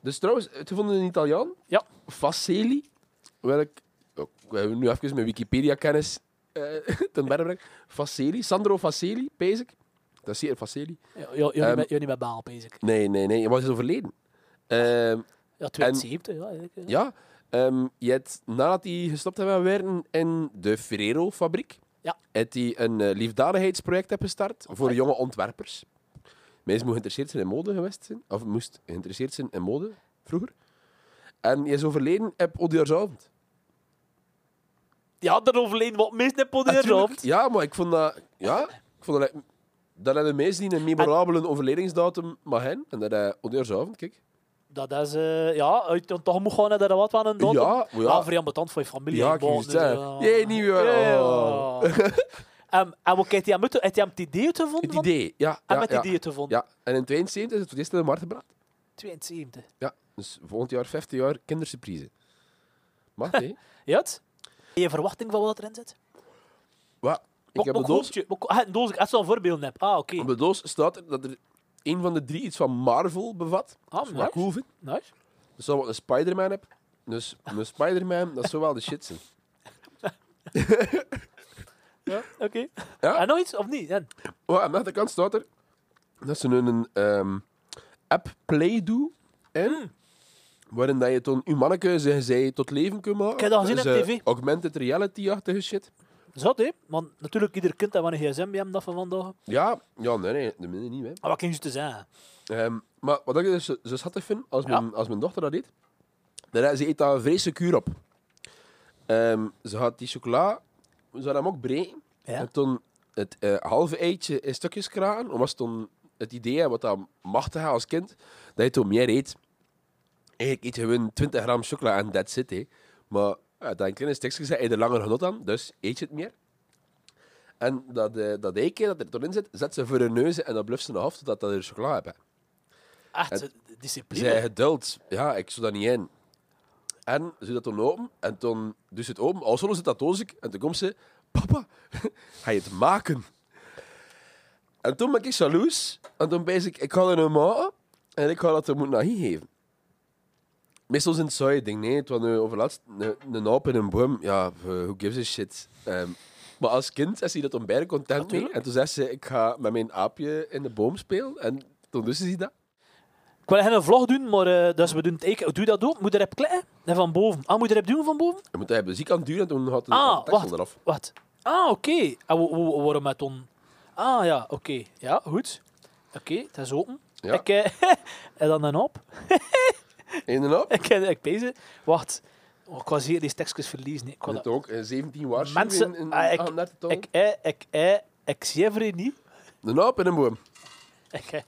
Speaker 2: Dus trouwens, het vond een Italiaan.
Speaker 1: Ja.
Speaker 2: Faceli. Wil ik... oh, ik wil nu even mijn Wikipedia-kennis eh, ten berge brengen. Faceli. Sandro Faceli, pees ik. Dat is zeker Faceli.
Speaker 1: Ja, ja, ja,
Speaker 2: Ehm.
Speaker 1: niet met- ja, niet met baal, bezig.
Speaker 2: Nee, nee, nee. Hij was overleden. Ehm,
Speaker 1: Ja, 72. Ja, eigenlijk, ja.
Speaker 2: ja. Ehm, je hebt, nadat hij gestopt heeft met werken in de Ferrero-fabriek,
Speaker 1: Ja.
Speaker 2: heeft hij een eh, liefdadigheidsproject heb gestart voor jonge ontwerpers. Mensen moesten geïnteresseerd zijn in mode geweest zijn, of moest geïnteresseerd zijn in mode vroeger. En hij is overleden op Oudjaarsavond.
Speaker 1: ja, daar overleden wat mis net op de
Speaker 2: Natuurlijk.
Speaker 1: rand.
Speaker 2: Ja, maar ik vond dat... Ja, ik vond dat... Dat hebben mensen die een memorabele overledingsdatum mag hebben. En dat is Oudjaarsavond, kijk.
Speaker 1: Dat is, eh, ja, uit, toch moet gewoon naar wat van een dood.
Speaker 2: Ja, maar ja.
Speaker 1: Wel vrij ambetant voor je familie.
Speaker 2: Ja,
Speaker 1: hè,
Speaker 2: ik
Speaker 1: bon,
Speaker 2: wist
Speaker 1: dus,
Speaker 2: het, hè.
Speaker 1: ja.
Speaker 2: Jee, nieuwjaar.
Speaker 1: Ja.
Speaker 2: Oh.
Speaker 1: Ehm, en wat heeft hij aan moeten? Heeft hij hem het idee te vonden?
Speaker 2: Het idee, ja.
Speaker 1: En
Speaker 2: ja,
Speaker 1: met
Speaker 2: ja.
Speaker 1: het idee te vonden?
Speaker 2: Ja, en in 72 is het voor het eerst in de markt gebracht.
Speaker 1: 72.
Speaker 2: Ja, dus volgend jaar 50 jaar kindersurprise. Mag hè?
Speaker 1: Ja, het? Heb je verwachting van wat erin zit?
Speaker 2: Wat? Ik
Speaker 1: Wat-
Speaker 2: heb de
Speaker 1: wat
Speaker 2: doos.
Speaker 1: hoop je? Wat- ah, Een doos, als je zo'n voorbeeld hebt. Ah, oké.
Speaker 2: Op de doos staat er dat er een van de drie iets van Marvel bevat.
Speaker 1: Ah,
Speaker 2: Dat is wel
Speaker 1: nice.
Speaker 2: cool vind.
Speaker 1: Nice.
Speaker 2: Dus dan wat een Spider-Man heb. Dus een Spider-Man, dat zou wel de shit zijn.
Speaker 1: Ja, oké.
Speaker 2: Ja.
Speaker 1: En nog iets, of niet? Ja.
Speaker 2: Oh, aan de andere kant staat er dat ze een ehm, app Play-Doh
Speaker 1: Hmm.
Speaker 2: en waarin dat je toen je manneke zijn zij tot leven kunt maken.
Speaker 1: Ik heb dat gezien
Speaker 2: Dus,
Speaker 1: op
Speaker 2: eh,
Speaker 1: tv.
Speaker 2: Augmented reality-achtige shit.
Speaker 1: Zat, hè? Want natuurlijk, ieder kind dat wel een gsm bij hem dat van vandaag.
Speaker 2: Ja, ja, nee, nee, de minder niet, hè.
Speaker 1: Ah, wat kan je te zeggen?
Speaker 2: Ehm, maar wat ik dus zo zo schattig vind, als
Speaker 1: Ja.
Speaker 2: mijn, als mijn dochter dat deed, dan, ze eet daar vreselijk kuur op. Ehm, ze had die chocola, ze had hem ook breken.
Speaker 1: Ja.
Speaker 2: En toen het eh, halve eitje in stukjes kraken, omdat ze toen het idee had, wat dat mag te gaan als kind, dat je toen meer eet. Eigenlijk eet je gewoon 20 gram chocola en that's it. Hè. Maar ja, dat een kleine stukje zit, eet je er langer genot aan, dus eet je het meer. En dat, eh, dat eikje dat er toen in zit, zet ze voor hun neus en dan bluft ze nog af totdat dat er chocola hebben.
Speaker 1: Echt,
Speaker 2: Het-
Speaker 1: eh, discipline.
Speaker 2: Zij geduld. Ja, ik zou dat niet in. En ze doet dat toen open. En toen doet ze het open. Al zit dat doosje. En toen komt ze... Papa, ga je het maken? En toen ben ik jaloers. En toen ben ik... Ik ga er een maken. En ik ga dat er moeten naar hier geven. Meestal zijn het saaie dingen. Nee, het was nu overlaatst een, een aap in een boom. Ja, eh, who gives a shit. Ehm, maar als kind is hij dat onbeide content mee.
Speaker 1: Natuurlijk.
Speaker 2: En toen zei ze, ik ga met mijn aapje in de boom spelen. En toen dus ze dat.
Speaker 1: Ik wil echt een vlog doen, maar eh, dus we doen het eiken. Doe dat ook. Moet je erop klikken? En van boven. Ah, moet je erop doen van boven?
Speaker 2: Je moet hebben ziek aan het duren en toen had de
Speaker 1: Ah,
Speaker 2: had de tekstel
Speaker 1: wacht.
Speaker 2: eraf.
Speaker 1: Wat? Ah, oké. En wa- wa- wa- waarom met on... Ah, ja, oké. Ja, goed. Oké, het is open.
Speaker 2: Ja.
Speaker 1: Ik, eh, en dan een op.
Speaker 2: In en op.
Speaker 1: Ik, ik deze. Wacht. Oh, ik was hier die tekstjes verliezen. hè. Ik,
Speaker 2: Ik
Speaker 1: was
Speaker 2: had ook eh, 17 waarschuwingen
Speaker 1: Mensen-
Speaker 2: in, in
Speaker 1: ah, ik-
Speaker 2: 38
Speaker 1: dat-
Speaker 2: tong.
Speaker 1: ik, eh, ik, eh, ik zie er niet.
Speaker 2: Een aap in een boom.
Speaker 1: Ik, eh,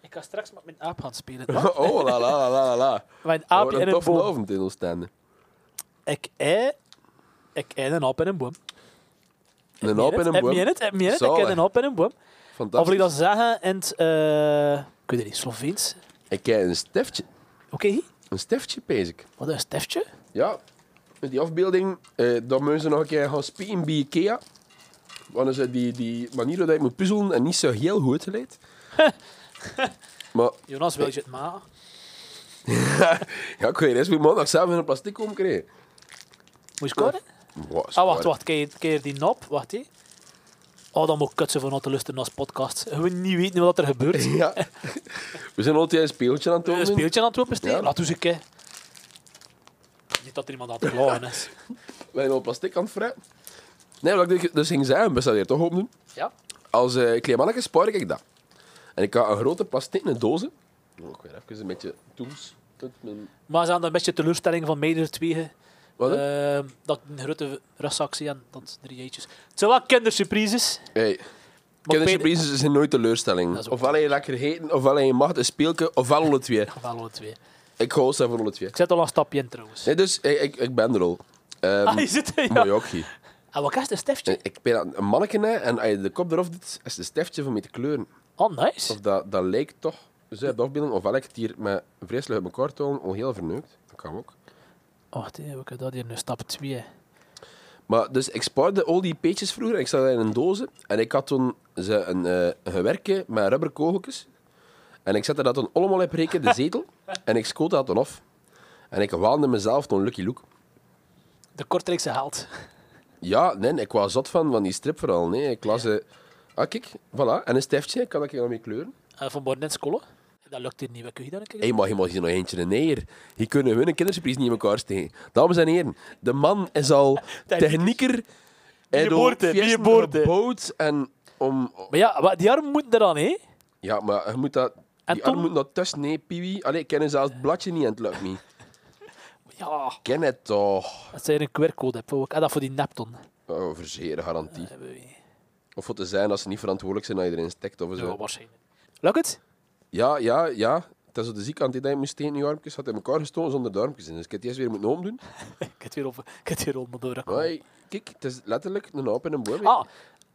Speaker 1: ik ga straks met mijn aap gaan spelen.
Speaker 2: Oh, la la la la la.
Speaker 1: Mijn
Speaker 2: Oh,
Speaker 1: aap
Speaker 2: wat
Speaker 1: in
Speaker 2: een
Speaker 1: een
Speaker 2: toffe
Speaker 1: boom.
Speaker 2: avond in ons standen.
Speaker 1: Ik, eh, ik, eh, een aap in een boom.
Speaker 2: Een aap in
Speaker 1: Heb
Speaker 2: een
Speaker 1: je
Speaker 2: boom.
Speaker 1: het? Heb je het? Ik
Speaker 2: Zalig.
Speaker 1: heb een aap in een boom. Of wil ik
Speaker 2: Fantastisch.
Speaker 1: dat zeggen in het... eh, ik weet het niet, Sloveens?
Speaker 2: Ik krijg een stiftje.
Speaker 1: Oké,
Speaker 2: Een stiftje, pees ik.
Speaker 1: wat een steftje.
Speaker 2: Ja. Dus die afbeelding, eh dat moeten ze nog een keer gaan spelen bij Ikea. Want ze die, die manier waarop je moet puzzelen en niet zo heel goed geleid. maar
Speaker 1: Jonas, wil je het maken?
Speaker 2: ja, ik weet niet, moet maandag zelf in een plastic komen krijgen.
Speaker 1: Moet je scoren?
Speaker 2: Wow,
Speaker 1: Ah, wacht, wacht. Keer, keer die nop. Wacht, hé. Oh, dan moet ik kutsen van te luisteren naar podcast. Gewoon niet weten wat er gebeurt.
Speaker 2: Ja. We zijn altijd een speeltje aan het doen.
Speaker 1: Een speeltje aan het opensteken?
Speaker 2: Ja.
Speaker 1: Laat eens een keer. Niet dat er iemand aan het lachen is.
Speaker 2: Wij zijn al plastic aan het fretten. Nee, wat ik dus ging zeggen, best dat hier toch op doen.
Speaker 1: Ja?
Speaker 2: Als eh klein mannetje spaar ik dat. En ik had een grote plastic in een doos. Oh, Ik weer even een beetje tools. Met mijn-
Speaker 1: Maar ze hadden een beetje teleurstelling van meerdere tweeën.
Speaker 2: Wat? hè?
Speaker 1: Eh, dat ik een grote rugzak zie en dat drie eitjes. Het zijn wel kindersurprises. maar
Speaker 2: hey,
Speaker 1: Peter-
Speaker 2: kindersurprises zijn nooit
Speaker 1: Dat
Speaker 2: teleurstelling.
Speaker 1: is ook
Speaker 2: Ofwel heb je lekker eten, ofwel heb je macht een speelke, ofwel alle twee.
Speaker 1: Wel alle twee.
Speaker 2: Ik hou staan voor alle twee.
Speaker 1: Ik zet al een stapje in trouwens.
Speaker 2: Nee, dus ik, ik, ik ben er al. Ehm,
Speaker 1: ah, je zit er, ja.
Speaker 2: Mooi hockey.
Speaker 1: En wat is het, een stiftje?
Speaker 2: Ik ik ben aan- een manneke hè, en als je de kop eraf doet, is het een stiftje van mee te kleuren.
Speaker 1: Oh, nice.
Speaker 2: Of dat, dat lijkt toch, zij de afbeelding, ofwel ik het hier met vreselijk uit elkaar toon, al heel verneukt. Dat kan ook.
Speaker 1: Oh, Wacht, hè, we kunnen dat hier nu stap 2.
Speaker 2: Maar dus ik spaarde al die peetjes vroeger en ik zat dat in een dozen. En ik had toen ze een, eh, een gewerkje met rubberkogeltjes. En ik zette dat dan allemaal op reken, de zetel. en ik schoot dat dan af. En ik waande mezelf toen Lucky Luke.
Speaker 1: De Kortrijkse held.
Speaker 2: Ja, nee, ik was zot van, van die strip vooral. Nee, ik las... eh, ah, kijk, voilà. En een stiftje, ik kan dat dan mee kleuren.
Speaker 1: Eh, van Bornens Kolle. Dat lukt hier niet. Wat kun je dan een keer
Speaker 2: Hé, hey, maar je mag hier nog eentje neer. Hier kunnen we een kindersurprise niet in elkaar steken. Dames en heren, de man is al technieker. Hij
Speaker 1: Die
Speaker 2: doet
Speaker 1: boort, hè, die
Speaker 2: fiesten
Speaker 1: boort, hè.
Speaker 2: gebouwd en om...
Speaker 1: Maar ja, wat- die armen moeten eraan, hè?
Speaker 2: Ja, maar je moet dat...
Speaker 1: En
Speaker 2: Die arm
Speaker 1: Tom-
Speaker 2: moet dat tussen, nee, Piwi. Allee, ik ken zelfs het bladje niet en het lukt niet.
Speaker 1: Ja,
Speaker 2: Ik ken het toch.
Speaker 1: dat zijn een QR-code. heb ook. En dat voor die Nepton.
Speaker 2: Oh, verzeren garantie.
Speaker 1: Dat hebben we niet.
Speaker 2: Of voor te zijn als ze niet verantwoordelijk zijn dat je erin steekt of
Speaker 1: Ja,
Speaker 2: zo.
Speaker 1: waarschijnlijk. Lukt het?
Speaker 2: Ja, ja, ja. Het is zo de ziekkant die je moest tegen je armpjes. Had in elkaar gestoken zonder de armpjes in. Dus ik heb het eerst weer moeten omdoen.
Speaker 1: Ik heb het weer op- ik heb het weer onder door.
Speaker 2: Maar hey, kijk, het is letterlijk een hoop in een boom.
Speaker 1: Oh. Ah,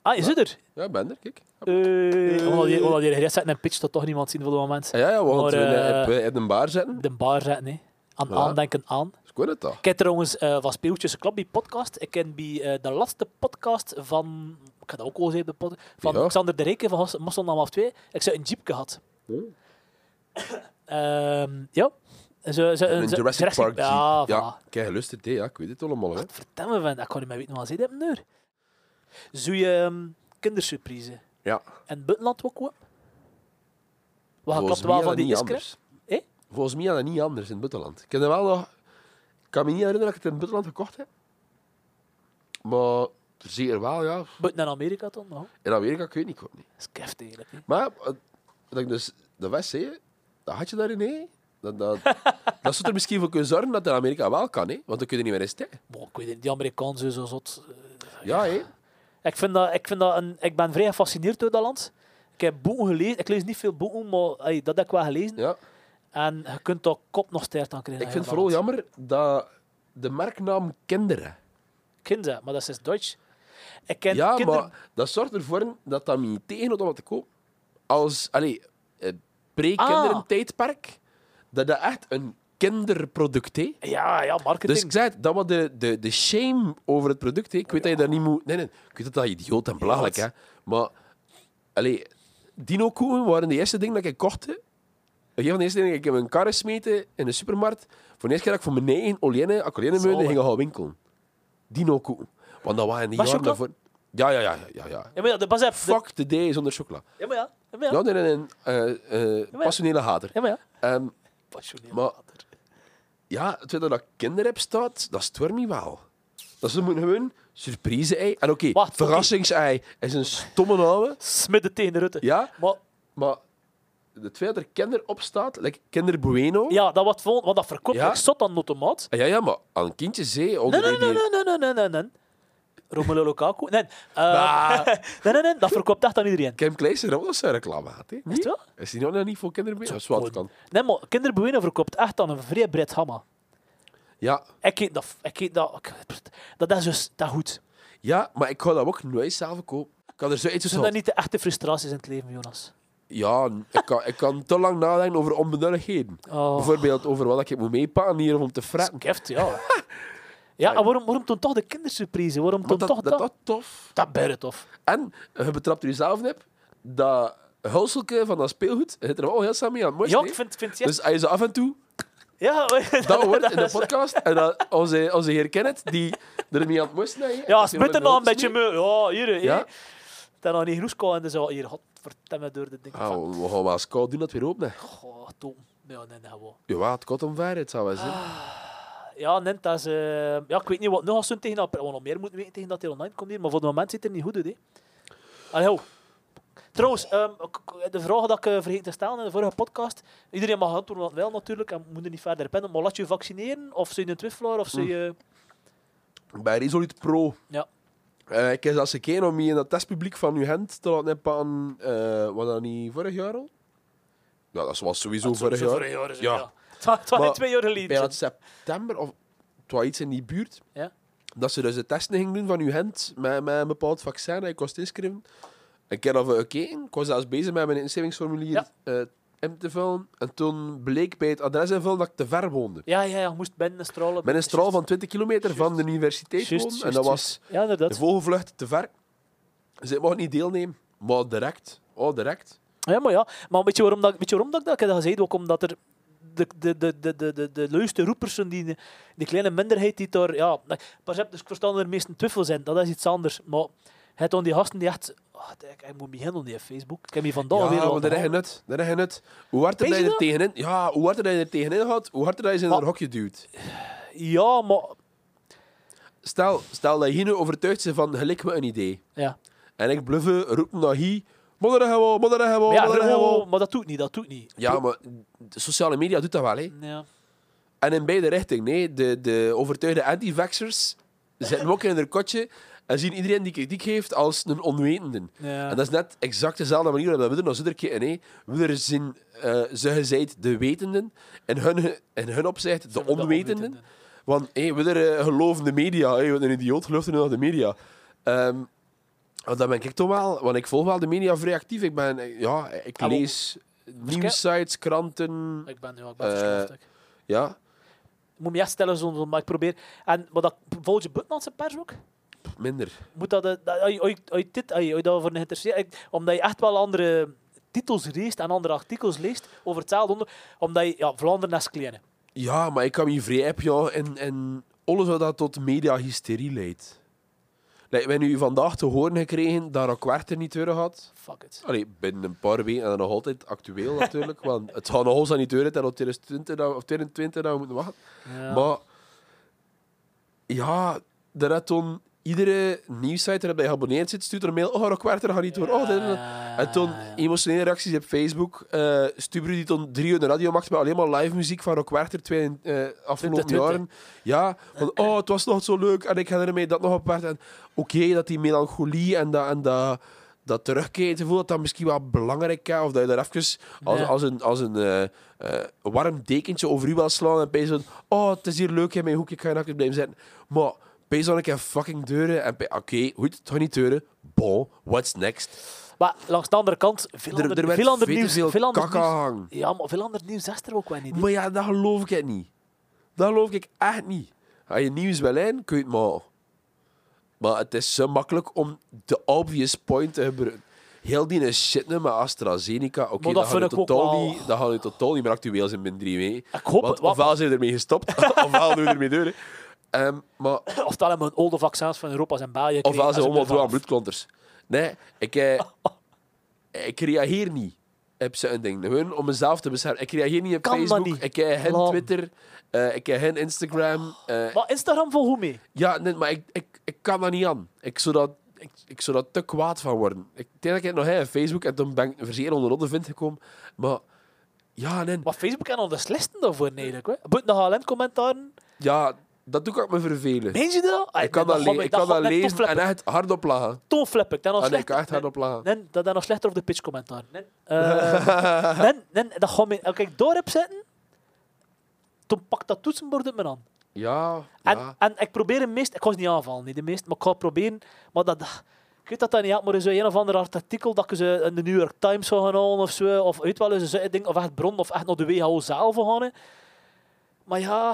Speaker 1: ah, je zit er.
Speaker 2: Ja, ik ben er, kijk.
Speaker 1: Eh, Omdat je omdat je gerest zet en pitch, dat toch niemand zien voor het moment.
Speaker 2: Ah, Ja, ja, we gaan
Speaker 1: Maar,
Speaker 2: het in,
Speaker 1: eh,
Speaker 2: op, eh, in een bar zetten.
Speaker 1: De bar zetten, hè. Aan
Speaker 2: Voilà.
Speaker 1: aandenken aan.
Speaker 2: Dus ik weet het toch.
Speaker 1: Ik heb trouwens eh, van Speeltjes Club die podcast. Ik ken bij eh, de laatste podcast van. Ik had ook al eens even de podcast. Van
Speaker 2: Ja.
Speaker 1: Xander de Reken van Hos- Mossel nam af 2. Ik zou een jeep gehad.
Speaker 2: Oh.
Speaker 1: Ehm, ja. Zo, zo,
Speaker 2: In een
Speaker 1: zo-
Speaker 2: Jurassic, Park Jeep.
Speaker 1: Eh, Ja,
Speaker 2: ja
Speaker 1: voilà.
Speaker 2: kijk, geluisterd, hè, ja, ik weet het allemaal. Hè.
Speaker 1: Vertel me van, ik kon niet meer weten wat ze hebben nu. Zou je ehm, kindersurprise
Speaker 2: Ja,
Speaker 1: en het buitenland ook kopen? Wat
Speaker 2: volgens
Speaker 1: klopt
Speaker 2: mij
Speaker 1: wel
Speaker 2: had
Speaker 1: van
Speaker 2: dat
Speaker 1: die Eh?
Speaker 2: niet
Speaker 1: iskra?
Speaker 2: anders.
Speaker 1: Hé?
Speaker 2: Volgens mij had dat niet anders in het buitenland. Ik heb dat wel nog... Ik kan me niet herinneren dat ik het in het buitenland gekocht heb. Maar zeker wel, ja.
Speaker 1: Buiten naar Amerika dan? Nou,
Speaker 2: In Amerika, ik weet niet, ik hoop niet.
Speaker 1: dat is keft eigenlijk. hè.
Speaker 2: Maar, eh, dat ik dus de West zei, dat had je daarin, hè. Dat, dat, dat zou er misschien voor kunnen zorgen dat het in Amerika wel kan, hè. Want dan kun je niet meer eens tegen.
Speaker 1: Maar ik weet het, die Amerikanen zijn zo zot. eh,
Speaker 2: Ja, hè.
Speaker 1: Ik, vind dat, ik, vind dat een, ik ben vrij gefascineerd door dat land. Ik heb boeken gelezen. Ik lees niet veel boeken, maar ey, dat heb ik wel gelezen.
Speaker 2: Ja.
Speaker 1: En je kunt daar kop nog sterk aan krijgen.
Speaker 2: Ik
Speaker 1: aan
Speaker 2: vind het
Speaker 1: dat
Speaker 2: vooral
Speaker 1: land.
Speaker 2: jammer dat de merknaam kinderen.
Speaker 1: Kinder, maar dat is Duits. Ik ken
Speaker 2: ja,
Speaker 1: kinder...
Speaker 2: maar dat zorgt ervoor dat dat me niet tegenhoudt om het te kopen. Als allee, het pre-kinderentijdperk, dat dat echt een kinderproduct is.
Speaker 1: Ja, ja, marketing.
Speaker 2: Dus ik zei het, dat was de, de, de shame over het product. hè. Ik weet dat je dat niet moet... Nee, nee. Ik weet dat dat idioot en belachelijk hè. Maar, allee, dino-koeien waren de eerste dingen dat ik kocht. hè. Een van de eerste dingen dat ik in mijn kar smeten in de supermarkt. Voor de eerste keer dat ik voor mijn eigen Olienne, Acolienne-meuden
Speaker 1: Zalig.
Speaker 2: ging gaan winkelen. Dino-koeien. Want dat waren die
Speaker 1: Was
Speaker 2: jaren
Speaker 1: chocola?
Speaker 2: daarvoor... Ja, ja, ja, ja, ja, ja.
Speaker 1: Ja, maar ja, de pas heb.
Speaker 2: Fuck the day zonder chocola. Nou,
Speaker 1: Ja, maar ja. Ja, maar ja.
Speaker 2: Ja, nee, nee, nee. eh, eh, passionele hater.
Speaker 1: Ja, maar ja.
Speaker 2: Ehm,
Speaker 1: Passioneel.
Speaker 2: Maar- ja, het feit dat dat kinderrap staat, dat stoort me wel. Dat ze moeten gewoon surprise-ei. En oké,
Speaker 1: Wacht,
Speaker 2: verrassings-ei is een stomme naam.
Speaker 1: Smidden tegen Rutte.
Speaker 2: Ja,
Speaker 1: Maar
Speaker 2: maar het feit dat er kinder op staat, like kinder bueno...
Speaker 1: ja, dat wat volgend, want dat verkoopt
Speaker 2: Ja.
Speaker 1: ik zot aan automaat.
Speaker 2: Ah, ja, ja, maar aan kindjes, hé.
Speaker 1: Nee, nee, nee, nee, nee, nee, nee, nee, nee. Romelu Lukaku. Nee, eh,
Speaker 2: Bah.
Speaker 1: nee, nee, nee, dat verkoopt echt aan iedereen.
Speaker 2: Kim Kleister heeft ook nog zijn reclame gehad, hè.
Speaker 1: Is het wel?
Speaker 2: Is die nou nog niet voor kinderbueno? Dat is wat kan.
Speaker 1: Nee, maar kinderbueno verkoopt echt aan een vrij breed gamma.
Speaker 2: Ja,
Speaker 1: Ik eet dat... Ik eet dat, ik- dat is dus dat goed.
Speaker 2: ja, maar ik ga dat ook nooit zelf kopen. Ik kan er zo iets
Speaker 1: Zijn dat niet de echte frustraties in het leven, Jonas?
Speaker 2: Ja, ik kan, ik kan te lang nadenken over onbenulligheden.
Speaker 1: Oh,
Speaker 2: Bijvoorbeeld over wat ik moet meepakken hier om te fretten.
Speaker 1: skeft, ja. ja, en waarom, waarom toen toch de kindersurprise? Waarom toen
Speaker 2: Want dat,
Speaker 1: toch
Speaker 2: dat,
Speaker 1: dat?
Speaker 2: dat tof.
Speaker 1: Dat ben tof.
Speaker 2: En je betrapt er jezelf op dat hulselke van dat speelgoed je zit er wel heel samen mee aan het
Speaker 1: Ja,
Speaker 2: morsen,
Speaker 1: ik
Speaker 2: hè.
Speaker 1: vind, vind ja.
Speaker 2: Dus als je ze af en toe
Speaker 1: ja,
Speaker 2: dat hoort in de
Speaker 1: is-
Speaker 2: podcast en dat onze, onze heer Kenneth, die ermee aan het moesten is.
Speaker 1: Ja, spit er nog een beetje mee. Ja, hier,
Speaker 2: Ja.
Speaker 1: ja. Dat nog niet genoeg kan en dan zo, hier, godverdomme, door de ding.
Speaker 2: Ah,
Speaker 1: van,
Speaker 2: we we gaan wel eens koud doen dat weer openen.
Speaker 1: Goh, Tom. Ja, nee, nee, gewoon.
Speaker 2: Ja, het kot omver, het zou wel zijn.
Speaker 1: Ah. Ja, Nint, dat is... eh, ja, ik weet niet wat nog als ze tegen dat... We nog meer moeten weten tegen dat hij online komt hier, maar voor het moment zit het er niet goed uit, hè. Allee, ho. Trouwens, ehm, k- k- de vraag dat ik eh, vergeten te stellen in de vorige podcast. Iedereen mag antwoorden wat wel natuurlijk. En moet er niet verder pennen. Maar laat je vaccineren? Of zou je een twijfelaar? Of zou je...
Speaker 2: Bij Resolute Pro.
Speaker 1: Ja.
Speaker 2: Eh, ik heb zelfs een keer om je in dat testpubliek van uw hand te laten inpakken. eh was dat niet vorig jaar al? Ja, dat was sowieso
Speaker 1: Dat
Speaker 2: vorig
Speaker 1: sowieso
Speaker 2: jaar.
Speaker 1: is het,
Speaker 2: Ja.
Speaker 1: ja. Het wa- Het was
Speaker 2: Maar
Speaker 1: niet twee jaar
Speaker 2: Bij
Speaker 1: geleden.
Speaker 2: dat september, of het was iets in die buurt.
Speaker 1: Ja.
Speaker 2: Dat ze dus de testen gingen doen van uw hand met, met een bepaald vaccin dat je kost inschrijven. Ik heb dat gekeken. Ik was zelfs bezig met mijn inschrijvingsformulier
Speaker 1: Ja.
Speaker 2: eh, in te vullen. En toen bleek bij het adres invullen dat ik te ver woonde.
Speaker 1: Ja, ja, ja. Je moest binnen stralen.
Speaker 2: Met een straal van 20 kilometer van
Speaker 1: Juist.
Speaker 2: de universiteit
Speaker 1: Juist,
Speaker 2: woonde. En
Speaker 1: juist,
Speaker 2: dat
Speaker 1: juist.
Speaker 2: was
Speaker 1: Ja,
Speaker 2: de
Speaker 1: inderdaad.
Speaker 2: vogelvlucht te ver. Ze mocht niet deelnemen. Maar direct. Oh, direct.
Speaker 1: Ja, maar ja. Maar weet je waarom dat, weet je waarom dat ik dat ik heb dat gezegd? Ook omdat er de, de, de, de, de, de, de leuste roepers, zijn die, die kleine minderheid die daar... Ja, nou, pas op, dus ik verstaan dat er meestal twijfel zijn. Dat is iets anders. Maar het dan die gasten die echt... Oh, ik, ik moet beginnen op die Facebook. Ik heb hier vandaag weer
Speaker 2: ja,
Speaker 1: al
Speaker 2: maar daar heb je
Speaker 1: gehad.
Speaker 2: nut. Daar heb je nut. Hoe harder
Speaker 1: Weet
Speaker 2: dat
Speaker 1: je
Speaker 2: je er tegenin... Ja, hoe harder dat je er tegenin gaat, hoe harder dat je ze in
Speaker 1: Maar-
Speaker 2: een hokje duwt.
Speaker 1: Ja, maar...
Speaker 2: Stel, stel dat je nu overtuigd bent van, gelijk me een idee.
Speaker 1: Ja,
Speaker 2: En ik bluffen, roepen naar hier... Modder hebben we, modder Oh, hebben
Speaker 1: maar,
Speaker 2: we,
Speaker 1: ja,
Speaker 2: modder hebben
Speaker 1: gewoon-
Speaker 2: we.
Speaker 1: maar dat doet niet, dat doet niet.
Speaker 2: Ja, maar de sociale media doet dat wel, hè.
Speaker 1: Ja.
Speaker 2: En in beide richtingen, nee. De, de overtuigde anti-vaxxers zitten ook in hun kotje en zien iedereen die kritiek geeft als een onwetende.
Speaker 1: Ja.
Speaker 2: En dat is net exact dezelfde manier waarop we doen als iedere keer. En nee, we zijn eh ze gezeid de wetenden en hun, in hun opzicht de onwetenden. Want hey, we er, eh, geloven de media. Hey, wat een idioot gelooft er nu nog de media. Ehm want dat ben ik toch wel, want ik volg wel de media vrij actief. Ik, ben, eh, ja, ik
Speaker 1: Ah, wel.
Speaker 2: lees nieuwsites, kranten.
Speaker 1: Ik ben, ja, ik ben
Speaker 2: Eh,
Speaker 1: verschrikt, ik.
Speaker 2: Ja,
Speaker 1: Ik moet me echt stellen, zo, zo, maar ik probeer... En, maar dat, volg je Buitenlandse pers ook?
Speaker 2: pff, minder.
Speaker 1: moet dat, eh, dat als je- als je- als je dit als je daarvoor geïnteresseerd ik- omdat je echt wel andere titels leest en andere artikels leest over hetzelfde onder, omdat je ja, Vlaanderen is klein. hè.
Speaker 2: Ja, maar ik kan me vrij app, ja. En, en alles wat dat tot media-hysterie leidt. Like, we hebben nu vandaag te horen gekregen dat Rockwerter er niet terug had.
Speaker 1: Fuck it.
Speaker 2: Allee, binnen een paar weken en dan nog altijd actueel natuurlijk. want het gaat nog altijd niet deuren tot 2020 dat- of 2022 dat we moeten wachten.
Speaker 1: Ja.
Speaker 2: Maar ja, daar had toen iedere nieuwssite waarop je geabonneerd zit, stuurt er een mail. Oh, Rockwerter gaat niet door. Oh, dit en dat. En toen emotionele reacties op Facebook. eh Stubru die toen drie uur de radio maakte met alleen maar live muziek van Rockwerter twee, eh afgelopen
Speaker 1: 2020.
Speaker 2: jaren. Ja, van oh, het was nog zo leuk en ik herinner me dat nog op werd. En oké, dat die melancholie en dat, en dat, dat terugkeergevoel, dat dat misschien wel belangrijk is. Of dat je daar even als,
Speaker 1: Ja.
Speaker 2: als een, als een eh, eh, warm dekentje over u wil slaan en pees van oh, het is hier leuk in mijn hoek, ik ga hier naakt blijven zitten. Maar pees dan een keer fucking deuren en pe- oké, goed, het gaat niet deuren. Bon, what's next?
Speaker 1: Maar langs de andere kant, veel
Speaker 2: Er,
Speaker 1: ander,
Speaker 2: er werd
Speaker 1: veel ander
Speaker 2: veel te
Speaker 1: nieuws.
Speaker 2: veel
Speaker 1: veel ander
Speaker 2: kaka
Speaker 1: nieuws-
Speaker 2: hangen.
Speaker 1: Ja, maar veel ander nieuws is er ook wel niet.
Speaker 2: Maar ja, dat geloof ik het niet. Dat geloof ik echt niet. Als je nieuws wil in, kun je het maken. Maar het is zo makkelijk om de obvious point te gebruiken. Heel die shit nu met AstraZeneca, oké,
Speaker 1: Maar dat
Speaker 2: dat, gaat nu
Speaker 1: vind ik ook
Speaker 2: totaal
Speaker 1: wel-
Speaker 2: niet- dat gaat nu totaal niet meer actueel zijn binnen drie weken.
Speaker 1: Ik hoop
Speaker 2: Want
Speaker 1: het. Wat,
Speaker 2: ofwel zijn we ermee gestopt, ofwel doen we ermee door. hè. Ehm, maar
Speaker 1: ofwel hebben we een oude vaccins van Europa en België
Speaker 2: of
Speaker 1: gekregen,
Speaker 2: als ze
Speaker 1: en
Speaker 2: allemaal
Speaker 1: zijn
Speaker 2: door
Speaker 1: vanaf.
Speaker 2: aan bloedklonters. Nee, ik, eh, ik reageer niet op zo'n ding. Gewoon om mezelf te beschermen. Ik reageer niet op
Speaker 1: Kan dat
Speaker 2: Facebook,
Speaker 1: niet.
Speaker 2: ik heb geen
Speaker 1: Lam.
Speaker 2: Twitter, eh, ik heb geen Instagram. eh,
Speaker 1: Maar Instagram vol hoe mee?
Speaker 2: ja, nee, maar ik, ik, ik kan dat niet aan. Ik zou dat, ik, ik zou dat te kwaad van worden. Ik denk dat ik het nog heb op Facebook en toen ben ik verzekerd onder de vind gekomen. Maar ja, nee,
Speaker 1: Maar Facebook kan al de slechtste daarvoor, eigenlijk. hè. Buiten de HLN-commentaren.
Speaker 2: ja, dat doe ik ook me vervelen.
Speaker 1: Meen je dat? Ah,
Speaker 2: Ik kan
Speaker 1: nee,
Speaker 2: dat,
Speaker 1: gaat
Speaker 2: le-
Speaker 1: me-
Speaker 2: ik kan dat
Speaker 1: gaat me
Speaker 2: lezen
Speaker 1: toffleppen.
Speaker 2: en echt hardop lachen.
Speaker 1: Toon flip ik. Dan nog
Speaker 2: En ik
Speaker 1: slechter.
Speaker 2: kan echt hardop lachen.
Speaker 1: Nee, dat is nog slechter op de pitchcommentaar. Nee, eh, nee, nee, dat gaat me... Als ik door heb zitten, toen pak dat toetsenbord uit mijn hand.
Speaker 2: Ja,
Speaker 1: En,
Speaker 2: ja.
Speaker 1: en ik probeer het meest... Ik ga het niet aanvallen, niet de meest, maar ik ga het proberen. Maar dat... Ik weet dat dat niet had, maar er is zo een of ander artikel dat ik ze in de New York Times zou gaan halen of zo. Of weet wel, eens zo'n ding, of echt bron, of echt naar de WHO zelf gaan. hè. Maar ja...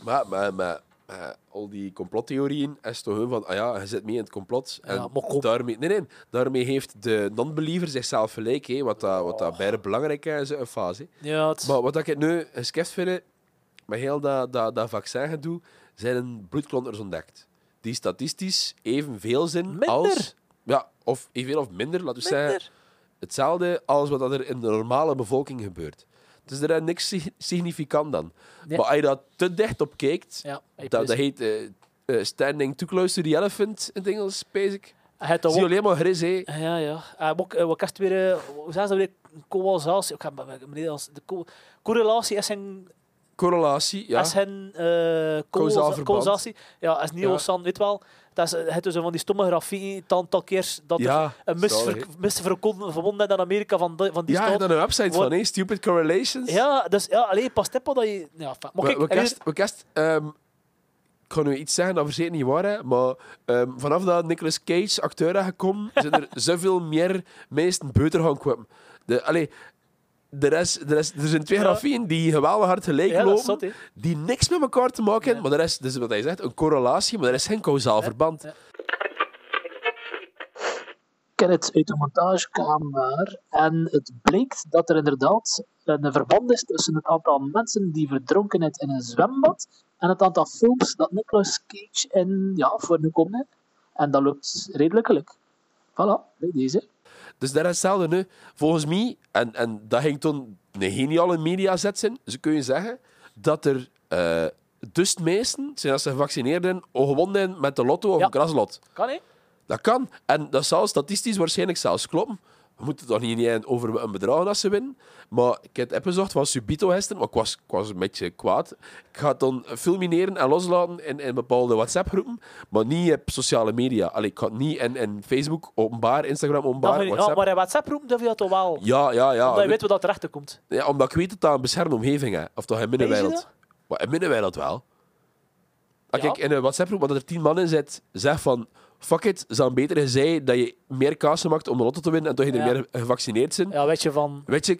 Speaker 2: Maar, maar, maar, maar al die complottheorieën is toch hun van, ah ja, je zit mee in het complot. En
Speaker 1: Ja, maar kom.
Speaker 2: daarmee, nee, nee, daarmee heeft de non-believer zichzelf gelijk, hè, wat, dat, wat dat bijna belangrijk is in een fase.
Speaker 1: Ja, het...
Speaker 2: Maar wat ik het nu geschift vind, met heel dat, dat, dat vaccingedoe, zijn bloedklonters ontdekt. Die statistisch evenveel zijn
Speaker 1: Minder.
Speaker 2: als... Ja, of evenveel of minder, laten we zeggen.
Speaker 1: minder.
Speaker 2: Hetzelfde als wat dat er in de normale bevolking gebeurt. Dus er is niks sig- significant dan.
Speaker 1: Nee.
Speaker 2: Maar als je daar te dicht op kijkt,
Speaker 1: Ja, hey,
Speaker 2: dat,
Speaker 1: please.
Speaker 2: dat heet eh, eh, Standing Too Close to the Elephant in het Engels, basic.
Speaker 1: Hij had dat
Speaker 2: Zie je
Speaker 1: ook-
Speaker 2: alleen maar gris, hé.
Speaker 1: Ja, ja. Eh, ook, eh, wat kast weer... eh, Hoe zijn ze weer? Coalsatie. Ik ga meneer als de co correlatie is een
Speaker 2: Correlatie, ja.
Speaker 1: is een eh
Speaker 2: Causaal
Speaker 1: causa-
Speaker 2: verband.
Speaker 1: causatie. Ja, is niet
Speaker 2: Ja.
Speaker 1: ontstaan, weet wel. Dat is eh, het is een van die stomme grafieken, tantalkeers dat er
Speaker 2: ja,
Speaker 1: een mis
Speaker 2: zalig,
Speaker 1: ver-
Speaker 2: hè.
Speaker 1: mis verkonden- verbonden aan Amerika van, die- van die
Speaker 2: Ja, je hebt
Speaker 1: staat.
Speaker 2: daar een website
Speaker 1: Wat-
Speaker 2: van, hé. Stupid Correlations.
Speaker 1: Ja, dus ja, alleen pas op dat je. Ja, enfin, maar
Speaker 2: We-
Speaker 1: kijk,
Speaker 2: we,
Speaker 1: er is-
Speaker 2: kerst, we kerst, ehm, ik ga nu iets zeggen dat zeker niet waar is, maar ehm, vanaf dat Nicolas Cage acteur is gekomen, zijn er zoveel meer mensen beuter gaan kwamen. De, allee, er, is, er, is, er zijn twee
Speaker 1: Ja.
Speaker 2: grafieën die geweldig hard gelijk
Speaker 1: ja, dat is
Speaker 2: lopen,
Speaker 1: zot, hè.
Speaker 2: die niks met elkaar te maken hebben,
Speaker 1: Ja.
Speaker 2: maar er is, dus wat hij zegt, een correlatie, maar er is geen kausaal verband.
Speaker 1: ja.
Speaker 3: Kenneth uit de montagekamer. En het blijkt dat er inderdaad een verband is tussen het aantal mensen die verdronken is in een zwembad en het aantal films dat Nicolas Cage in ja, voor nu komt. hè. En dat lukt redelijk gelukkig. Voilà, bij deze.
Speaker 2: Dus daar is hetzelfde nu. Volgens mij, en, en dat ging toen een geniale mediazet zijn, ze kun je zeggen dat er eh dus de meesten zijn als ze gevaccineerd zijn, of gewonnen zijn met de lotto of
Speaker 1: Ja.
Speaker 2: een kraslot.
Speaker 1: Kan hè?
Speaker 2: Dat kan. En dat zal statistisch waarschijnlijk zelfs kloppen. We moeten het toch niet eens over een bedrag dat ze winnen. Maar ik heb het bezocht van Subito gisteren, maar ik was, ik was een beetje kwaad. Ik ga het dan filmineren en loslaten in, in bepaalde WhatsApp-groepen, maar niet op sociale media. Allee, ik ga het niet in, in Facebook openbaar, Instagram
Speaker 1: Dan
Speaker 2: openbaar,
Speaker 1: vind je- ja,
Speaker 2: WhatsApp.
Speaker 1: Oh, maar in WhatsApp roepen durf je dat toch wel. Omdat
Speaker 2: Ja, ja, ja.
Speaker 1: je weet wat dat erachter komt.
Speaker 2: ja. Omdat ik weet dat dat een beschermde omgeving is. Of toch in
Speaker 1: je
Speaker 2: Middenwereld.
Speaker 1: dat?
Speaker 2: Maar in Middenwereld wel. Als
Speaker 1: Ja.
Speaker 2: ik in een WhatsApp-groep, waar er tien man in zit, zeg van... Fuck it, zou beter gezegd dat je meer kansen maakt om de lotto te winnen en toch je er
Speaker 1: Ja.
Speaker 2: meer gevaccineerd zijn.
Speaker 1: Ja, weet je van.
Speaker 2: Weet je,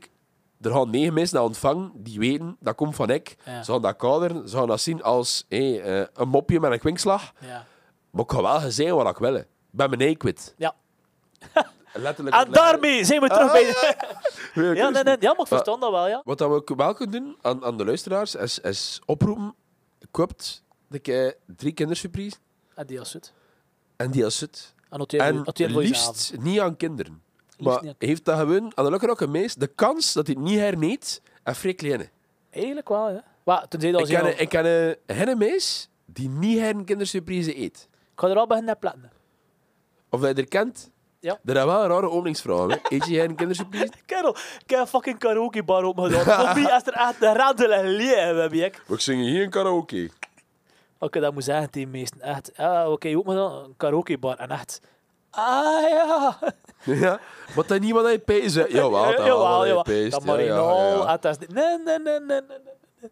Speaker 2: er gaan negen mensen naar ontvangen die weten, dat komt van ik.
Speaker 1: Ja.
Speaker 2: Ze gaan dat kaderen, ze gaan dat zien als hé, eh, een mopje met een kwinkslag.
Speaker 1: Ja.
Speaker 2: Maar ik ga wel gezegd wat ik wil. hè. Ik ben mijn ei kwijt.
Speaker 1: Ja.
Speaker 2: Letterlijk.
Speaker 1: En daarmee zijn we
Speaker 2: Ah,
Speaker 1: terug bij. de- Ja, nee, nee, ja, maar ik
Speaker 2: Maar-
Speaker 1: verstand dat wel, ja.
Speaker 2: Wat dat we ook wel kunnen doen aan, aan de luisteraars is, is oproepen. Koopt de ke- drie kindersurprise
Speaker 1: En die als het.
Speaker 2: en die als het.
Speaker 1: En noteer
Speaker 2: en
Speaker 1: voor- noteer voor jezelf.
Speaker 2: liefst niet aan kinderen.
Speaker 1: Liefst
Speaker 2: maar
Speaker 1: niet aan-
Speaker 2: heeft dat gewoon aan de lukkige meest de kans dat hij het niet herneemt en vrij kleine.
Speaker 1: Eigenlijk wel, ja. Maar, tenzij dat
Speaker 2: Ik
Speaker 1: als je al-
Speaker 2: ken, ik ken eh, geen mees die niet haar kindersurprise eet.
Speaker 1: Ik ga er al beginnen te plannen.
Speaker 2: Of dat je er kent.
Speaker 1: Ja.
Speaker 2: Er is wel een rare openingsvraag. hè. Eet je geen kindersurprise?
Speaker 1: Kerel, ik heb een fucking karaoke bar opgedaan. Voor mij is er echt een radel en leeuw, heb ik.
Speaker 2: We zingen hier een karaoke.
Speaker 1: Oké, dat moet zeggen tegen de meesten. Echt, ah, oké, je moet maar dan een karaoke bar. En echt, ah ja.
Speaker 2: Ja, maar dat is niet wat hij peest. hè. Jawel, dat wel wat hij peest.
Speaker 1: Dat
Speaker 2: Ja, ja,
Speaker 1: Marino,
Speaker 2: ja.
Speaker 1: ah, dat is niet- nee, nee, nee, nee, nee, nee.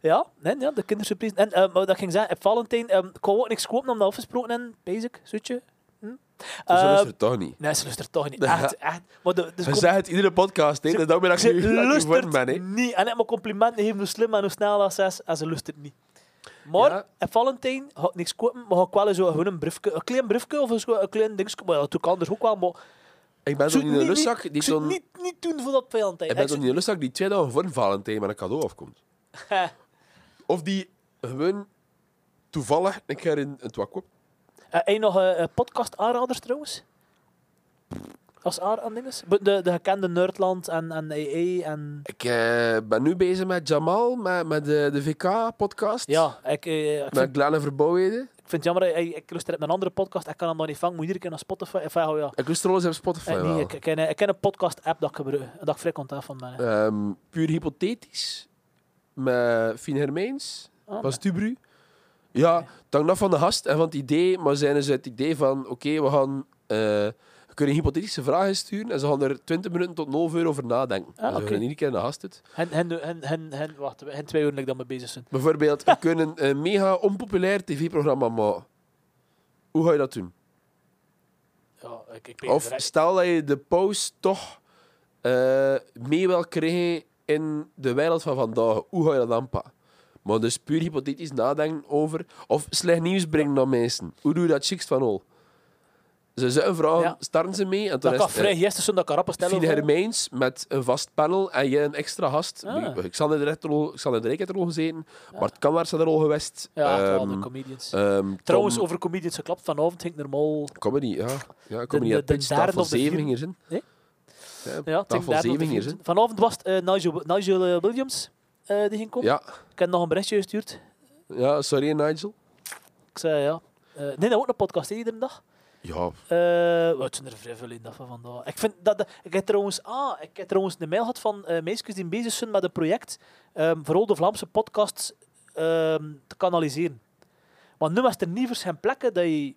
Speaker 1: Ja, nee, ja, de kindersurprise. En ehm, wat ik ging zeggen, op Valentijn, ehm ik wou ook niks kopen om dat afgesproken en basic, zoetje. Hm?
Speaker 2: Dus dat
Speaker 1: Ehm,
Speaker 2: is er toch niet.
Speaker 1: nee, ze luistert toch niet.
Speaker 2: Ja.
Speaker 1: Echt, echt. Maar de, dus
Speaker 2: Ze zeggen het iedere podcast, hè.
Speaker 1: Ze-
Speaker 2: Dat is ook weer dat ik
Speaker 1: Ze
Speaker 2: nu dat ik
Speaker 1: lustert
Speaker 2: voor ben, hè.
Speaker 1: niet. En ik moet complimenten geven hoe slim en hoe snel dat ze is. En ze lustert niet. Maar
Speaker 2: Ja.
Speaker 1: op Valentijn ga ik niks kopen, maar ga ik wel eens zo gewoon een briefje, een klein briefje of zo een klein dingetje. Maar ja, dat doe ik anders ook wel. Maar
Speaker 2: Ik ben
Speaker 1: ik
Speaker 2: zo
Speaker 1: zou
Speaker 2: in
Speaker 1: het
Speaker 2: een
Speaker 1: niet-
Speaker 2: lustzak
Speaker 1: niet-
Speaker 2: die
Speaker 1: ik zou het
Speaker 2: zo'n...
Speaker 1: niet, niet doen voor dat Valentijn.
Speaker 2: Ik ben
Speaker 1: Ik
Speaker 2: zo
Speaker 1: zou-
Speaker 2: in een lustzak die twee dagen voor een Valentijn met een cadeau afkomt. Of die gewoon toevallig een keer in het wak koopt.
Speaker 1: Eh, heb je nog eh, eh, podcast aanraders trouwens? Als aanraders? De, de gekende Nerdland en, en EE en...
Speaker 2: Ik eh, ben nu bezig met Jamal, met, met de, de VK-podcast.
Speaker 1: Ja, ik, eh, ik, vind,
Speaker 2: Met Glenn Verbouwheden.
Speaker 1: ik vind het jammer, eh, ik, ik luister op mijn andere podcast, ik kan hem nog niet vangen, moet iedere keer naar Spotify. Enfin, oh ja.
Speaker 2: Ik luister alles op Spotify
Speaker 1: Eh,
Speaker 2: wel.
Speaker 1: nee, ik, ik, ken, eh, ik ken een podcast-app dat ik gebruik, dat ik vrij content van ben.
Speaker 2: Ehm, puur hypothetisch. Met Fien Hermijns.
Speaker 1: Ah,
Speaker 2: Van Stubru. Ja, het hangt af van de gast en van het idee. Maar zijn dus het idee van... Oké, we gaan... eh, we kunnen hypothetische vragen sturen. En ze gaan er 20 minuten tot 0 uur over nadenken.
Speaker 1: Ah,
Speaker 2: En ze
Speaker 1: oké.
Speaker 2: gaan iedere keer aan de gast het.
Speaker 1: Hen, hen, hen, hen, hen, wacht, hen twee uur dat ik dan mee bezig zijn.
Speaker 2: Bijvoorbeeld, we kunnen een mega onpopulair tv-programma maken. Hoe ga je dat doen?
Speaker 1: Ja, ik, ik
Speaker 2: Of stel dat je de pauze toch eh, mee wil krijgen in de wereld van vandaag. Hoe ga je dat aanpakken? Maar dus puur hypothetisch nadenken over... Of slecht nieuws brengen naar mensen. Hoe doe je dat chicst van al? Ze zijn vragen,
Speaker 1: Ja.
Speaker 2: starten ze mee? En toen
Speaker 1: dat
Speaker 2: is
Speaker 1: kan
Speaker 2: het,
Speaker 1: vrij
Speaker 2: eh,
Speaker 1: gisteren zo'n dat ik kan rappen stellen.
Speaker 2: Fien Hermijns met een vast panel en jij een extra gast.
Speaker 1: Ah.
Speaker 2: Ik zal in de rechterrol, ik zal in de rechterrol gezeten. Bart Kamwaerts had er al geweest.
Speaker 1: Ja, echt wel,
Speaker 2: Ehm,
Speaker 1: de comedians.
Speaker 2: ehm, Tom-
Speaker 1: Trouwens, over comedians geklapt, vanavond ging ik normaal...
Speaker 2: Comedy, ja. ja
Speaker 1: de-
Speaker 2: comedy de, de,
Speaker 1: de
Speaker 2: pitch,
Speaker 1: derde
Speaker 2: tafel
Speaker 1: of de vierde-
Speaker 2: zeven ging er zijn.
Speaker 1: Nee? Eh,
Speaker 2: Ja,
Speaker 1: Ja, het ging
Speaker 2: tafel
Speaker 1: daar nog
Speaker 2: zeven
Speaker 1: de
Speaker 2: hier,
Speaker 1: vriend- Vanavond was het eh, Nigel, Nigel eh, Williams eh, die ging komen.
Speaker 2: Ja.
Speaker 1: Ik heb nog een berichtje gestuurd.
Speaker 2: ja, sorry Nigel.
Speaker 1: Ik zei ja. Eh, nee, dat wordt een podcast hè, iedere dag.
Speaker 2: Ja,
Speaker 1: Eh, wat zijn er vrij veel in dat van vandaag. Ik vind dat, dat- ik heb trouwens, ah, ik heb trouwens een mail gehad van eh meisjes die bezig zijn met een project, ehm, vooral de Vlaamse podcasts ehm, te kanaliseren. Want nu was er niet geen plekken dat je...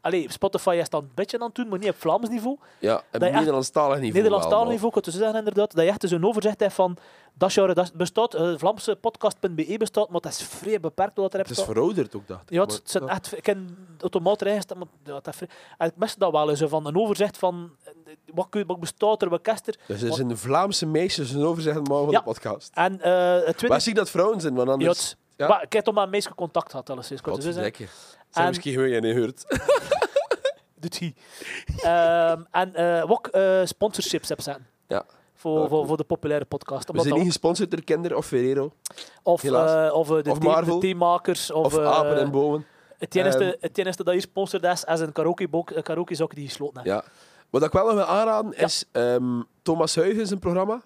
Speaker 1: Allee, Spotify is dan een beetje aan het doen, maar niet op Vlaams niveau.
Speaker 2: ja en
Speaker 1: echt-
Speaker 2: Nederlandstalig niveau
Speaker 1: Nederlandstalig
Speaker 2: wel,
Speaker 1: niveau, ik kan het zo zeggen inderdaad. Dat je echt dus een overzicht hebt van dat genre dat bestaat, eh, Vlaamse podcast.be E bestaat, maar dat is vrij beperkt wat er
Speaker 2: maar
Speaker 1: hebt
Speaker 2: Het is verouderd ook, dacht ik.
Speaker 1: ja, het,
Speaker 2: maar-
Speaker 1: het zijn echt, ik ken automaatrijden, dat- maar ja, dat, ver- en ik mis dat wel eens, zo van een overzicht van eh, wat, kun- wat bestaat er, wat kast er.
Speaker 2: Dus er zijn Vlaamse dus meisjes een overzicht mogen van
Speaker 1: Ja.
Speaker 2: de podcast.
Speaker 1: En eh het
Speaker 2: Maar
Speaker 1: tweede...
Speaker 2: zie ik dat vrouwen zijn, want
Speaker 1: Ja,
Speaker 2: anders...
Speaker 1: het-
Speaker 2: ja.
Speaker 1: maar ik heb toch maar een meisje contact gehad, alles is.
Speaker 2: Wat
Speaker 1: Dus,
Speaker 2: lekker. Zijn
Speaker 1: En-
Speaker 2: misschien gewoon jij niet gehoord.
Speaker 1: doet hij. Ehm, en eh wat eh, sponsorships heb zijn.
Speaker 2: Ja.
Speaker 1: Voor,
Speaker 2: Ja,
Speaker 1: voor,
Speaker 2: cool.
Speaker 1: voor de populaire podcast.
Speaker 2: We
Speaker 1: Omdat
Speaker 2: zijn niet gesponsord door Kinder of Ferrero.
Speaker 1: dat- of,
Speaker 2: helaas.
Speaker 1: eh, of eh, de,
Speaker 2: Of
Speaker 1: thee- de
Speaker 2: Marvel.
Speaker 1: theemakers. Of,
Speaker 2: Of
Speaker 1: eh,
Speaker 2: apen en bomen.
Speaker 1: het, enige,
Speaker 2: Ehm.
Speaker 1: het enige dat je sponsort is, is een karaokebok- een karaokezak die je gesloten hebt.
Speaker 2: Ja. Wat ik wel nog wil aanraden
Speaker 1: Ja.
Speaker 2: is ehm, Thomas Huygens een programma.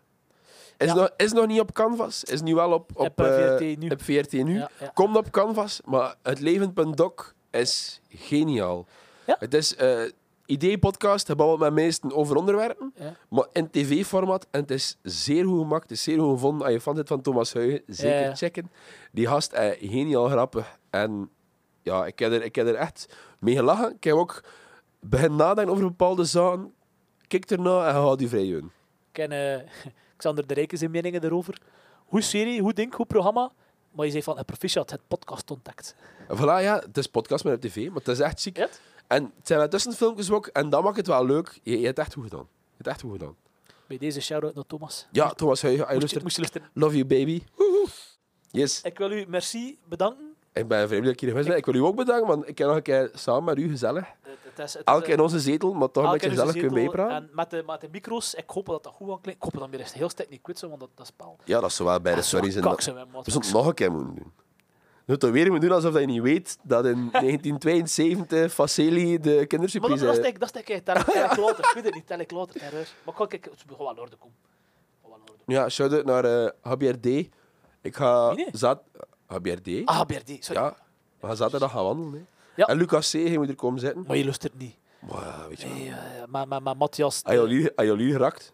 Speaker 2: Is,
Speaker 1: Ja.
Speaker 2: nog, is nog niet op Canvas, is nu wel op, op
Speaker 1: Op, eh,
Speaker 2: eh,
Speaker 1: VRT nu.
Speaker 2: op VRT nu.
Speaker 1: Ja, ja.
Speaker 2: Komt op Canvas, maar het levend.doc is geniaal.
Speaker 1: Ja.
Speaker 2: Het is eh idee-podcast, gebabbeld met meesten over onderwerpen,
Speaker 1: Ja.
Speaker 2: maar in tv-format. En het is zeer goed gemaakt, het is zeer goed gevonden. Als je fan bent van Thomas Huygens, zeker
Speaker 1: Ja.
Speaker 2: checken. Die gast, eh, geniaal grappig. En ja, ik heb, er, ik heb er echt mee gelachen. Ik heb ook begin nadenken over bepaalde zaken. Kijk ernaar en houd je vrij in.
Speaker 1: Ik ken eh, Xander de Rijken zijn meningen daarover. Hoe serie, hoe ding, hoe programma. Maar je zei van, eh, proficiat, het podcast ontdekt.
Speaker 2: En voilà, ja, het is podcast met op tv, maar het is echt ziek.
Speaker 1: Ja.
Speaker 2: En het zijn wel tussenfilmpjes ook, en dat maakt het wel leuk. Je, je hebt echt goed gedaan. Je hebt echt goed gedaan.
Speaker 1: Bij deze shout-out naar Thomas.
Speaker 2: Ja, Thomas Huygen, I
Speaker 1: Moest je,
Speaker 2: Ah, luistert.
Speaker 1: moest je luisteren.
Speaker 2: Love you, baby. Woehoe. Yes,
Speaker 1: Ik wil u merci bedanken.
Speaker 2: ik ben vreemd dat ik hier geweest ben. Ik wil u ook bedanken, want ik heb nog een keer samen met u gezellig.
Speaker 1: Het- het is- eh, het is-
Speaker 2: Elke in onze zetel, maar toch een
Speaker 1: elk
Speaker 2: beetje
Speaker 1: in
Speaker 2: gezellig
Speaker 1: onze
Speaker 2: kunnen
Speaker 1: zetel
Speaker 2: meepraten.
Speaker 1: En met de, met de micro's, ik hoop dat dat goed aanklinkt. Ik hoop dat we weer eens heel sterk niet kwitsen, want dat, dat is paal. Ah,
Speaker 2: Ja, dat is wel bij de
Speaker 1: Dat is wel
Speaker 2: stories. en
Speaker 1: kak,
Speaker 2: dat-
Speaker 1: zijn wij, maat.
Speaker 2: We zouden het nog een keer moeten doen. We moeten weer moeten doen alsof dat je niet weet dat in 1972 Faceli de
Speaker 1: Maar dat,
Speaker 2: kindersurprise...
Speaker 1: dat is denk- dat is denk ik tel- tel ik later. Ik weet het niet, tel ik later. terreur. Maar kijk, ik, het is gewoon wel in orde komen. Gewoon wel in orde.
Speaker 2: Ja, shout-out naar eh Javier D. Ik ga...
Speaker 1: Wie nee?
Speaker 2: Zat... Javier D?
Speaker 1: Ah, BRD, sorry.
Speaker 2: Ja, we gaan zaterdag gaan wandelen. hè.
Speaker 1: Ja.
Speaker 2: En Lucas C. ging moet er komen zitten.
Speaker 1: Maar je luistert niet.
Speaker 2: Maar ja, Ah, weet je wel.
Speaker 1: Nee, eh, maar, maar, maar Matthias... eh,
Speaker 2: Had je al hier- had je al hier gerakt?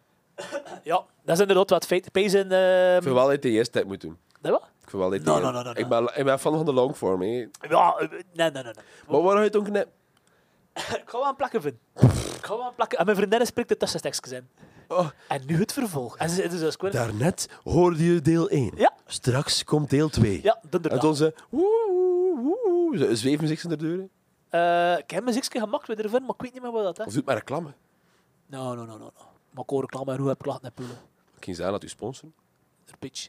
Speaker 1: Ja, dat is inderdaad wat feit. Pezen. ehm,
Speaker 2: Ik vind wel dat je eerst tijd moet doen.
Speaker 1: dat wat?
Speaker 2: Ik vind wel dat je
Speaker 1: No,
Speaker 2: eerst-
Speaker 1: no, no, no, no.
Speaker 2: Ik, ben, ik ben fan van de longform. hè.
Speaker 1: Ja, eh, nee, nee, nee. nee.
Speaker 2: Maar waar ga je het dan knip?
Speaker 1: Ik ga wel een plakken vinden. Ik ga wel een plakken. En mijn vriendin spreekt de tussentekstjes in.
Speaker 2: Oh.
Speaker 1: En nu het vervolg. En ze het is dus gewoon...
Speaker 2: Daarnet hoorde je deel 1.
Speaker 1: Ja.
Speaker 2: Straks komt deel 2.
Speaker 1: Ja,
Speaker 2: En
Speaker 1: inderdaad.
Speaker 2: toen ze... woe, woe, woe, Ze zweven zich in de deuren.
Speaker 1: Eh, ik heb mijn ziekje gemaakt weer ervan, maar ik weet niet meer wat dat
Speaker 2: Of
Speaker 1: is.
Speaker 2: doet maar reclame.
Speaker 1: No, no, no, no. no. Maar ik hoor reclame en hoe heb ik klachten en poelen.
Speaker 2: Ik ging zeggen dat u sponsoren.
Speaker 1: Er pitch.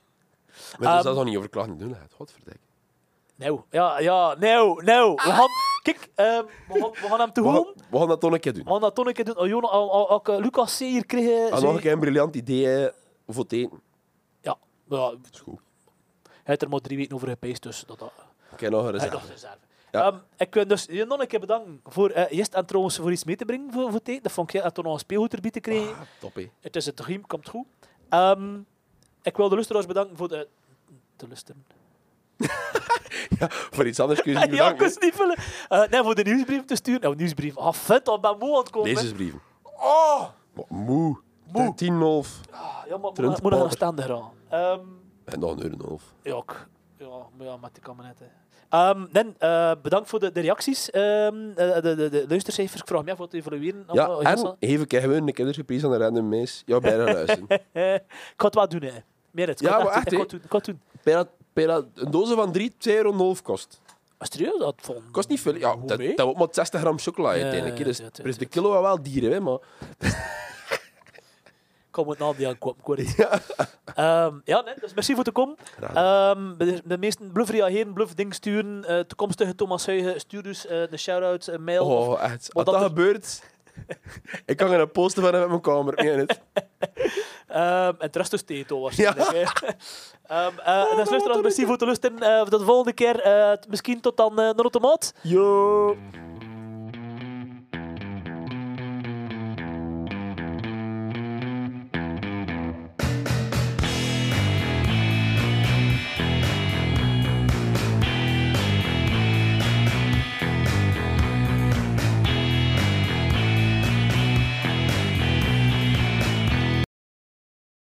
Speaker 2: Maar dat is
Speaker 1: Ehm.
Speaker 2: dat nog niet over klachten doen. Het godverdikke.
Speaker 1: Nou, ja, ja, nou, nou. We gaan... Kijk, ehm, we, gaan, we gaan hem te
Speaker 2: We,
Speaker 1: horen.
Speaker 2: gaan- we gaan dat toch een keer doen.
Speaker 1: We gaan dat toch een keer doen. Oh, Jona, al- al- al- Lucas C. hier kreeg... eh,
Speaker 2: En
Speaker 1: zei-
Speaker 2: Ah, nog een keer een briljant idee hè, voor het eten.
Speaker 1: Ja, ja, hij
Speaker 2: Is goed.
Speaker 1: heeft er maar drie weken over gepijst, dus dat... dat
Speaker 2: Ik heb nog een
Speaker 1: Ja,
Speaker 2: reserve.
Speaker 1: nog reserve.
Speaker 2: Ja.
Speaker 1: Ehm, ik wil dus je nog een keer bedanken voor eh Jist en trouwens voor iets mee te brengen voor, voor het eten. Dat vond ik heel toen nog een speelgoed erbij te krijgen.
Speaker 2: Ah, top, hè.
Speaker 1: Het is het riem, komt goed. Ehm, ik wil de luisteraars bedanken voor de... Te luisteren.
Speaker 2: Voor iets anders kun je niet
Speaker 1: Ja, ik
Speaker 2: bedanken.
Speaker 1: was niet vullen. Eh, nee, voor de nieuwsbrief te sturen. Nou, nieuwsbrief. Ah, vet, al ben moe aan het komen. hè.
Speaker 2: Lezensbrieven. Oh! Moe.
Speaker 1: Moe.
Speaker 2: 10 half.
Speaker 1: Ah, Ja, maar moet
Speaker 2: Trent
Speaker 1: nog- moet nog
Speaker 2: Power.
Speaker 1: een stander aan. Ehm,
Speaker 2: En nog een uur en een half.
Speaker 1: ja, ik- ja, maar ja, met die kan me net. hè. Ehm, Nen, eh, bedankt voor de, de reacties. Ehm, eh, de, de, de luistercijfers. Ik vraag me af wat te evalueren.
Speaker 2: Ja,
Speaker 1: Allemaal heel snel.
Speaker 2: en even kijken we een kindersurprise aan de random meis. Ja, bijna luisteren.
Speaker 1: Eh, ik ga het wel doen, hè. Meer het. Ik
Speaker 2: Ja,
Speaker 1: ga het
Speaker 2: maar
Speaker 1: doen, Ik
Speaker 2: echt,
Speaker 1: ga
Speaker 2: hè.
Speaker 1: het doen. Ik ga het doen.
Speaker 2: Bijna, bijna een doos van 3, 2 euro en een half kost.
Speaker 1: Ah, serieus? Dat vond...
Speaker 2: Kost niet veel. Ja,
Speaker 1: Hoe
Speaker 2: dat,
Speaker 1: mee?
Speaker 2: dat wordt maar 60 gram chocola
Speaker 1: Ja,
Speaker 2: uiteindelijk. hè. Dus,
Speaker 1: ja, ja, ja,
Speaker 2: dus de
Speaker 1: ja.
Speaker 2: kilo wel wel dieren, hè, maar...
Speaker 1: Ik kom het naam niet aankomen. Ik weet het. Ehm, ja, nee, dus merci voor te komen. Ehm, de, de meesten bluff reageren, bluff ding sturen. Eh, toekomstige Thomas Huigen, stuur dus eh, een shout-out, een mail. of-
Speaker 2: Oh, echt. Wat
Speaker 1: dat
Speaker 2: dat
Speaker 1: er-
Speaker 2: gebeurt... Ik kan een poster van hem op mijn kamer. Ik meen het.
Speaker 1: Ehm, en het rest is Teto waarschijnlijk. hè. Ehm, eh, dus luisteraars, merci voor te luisteren. Eh, tot de volgende keer. Eh, t- misschien tot dan eh, naar de automaat.
Speaker 2: Yo.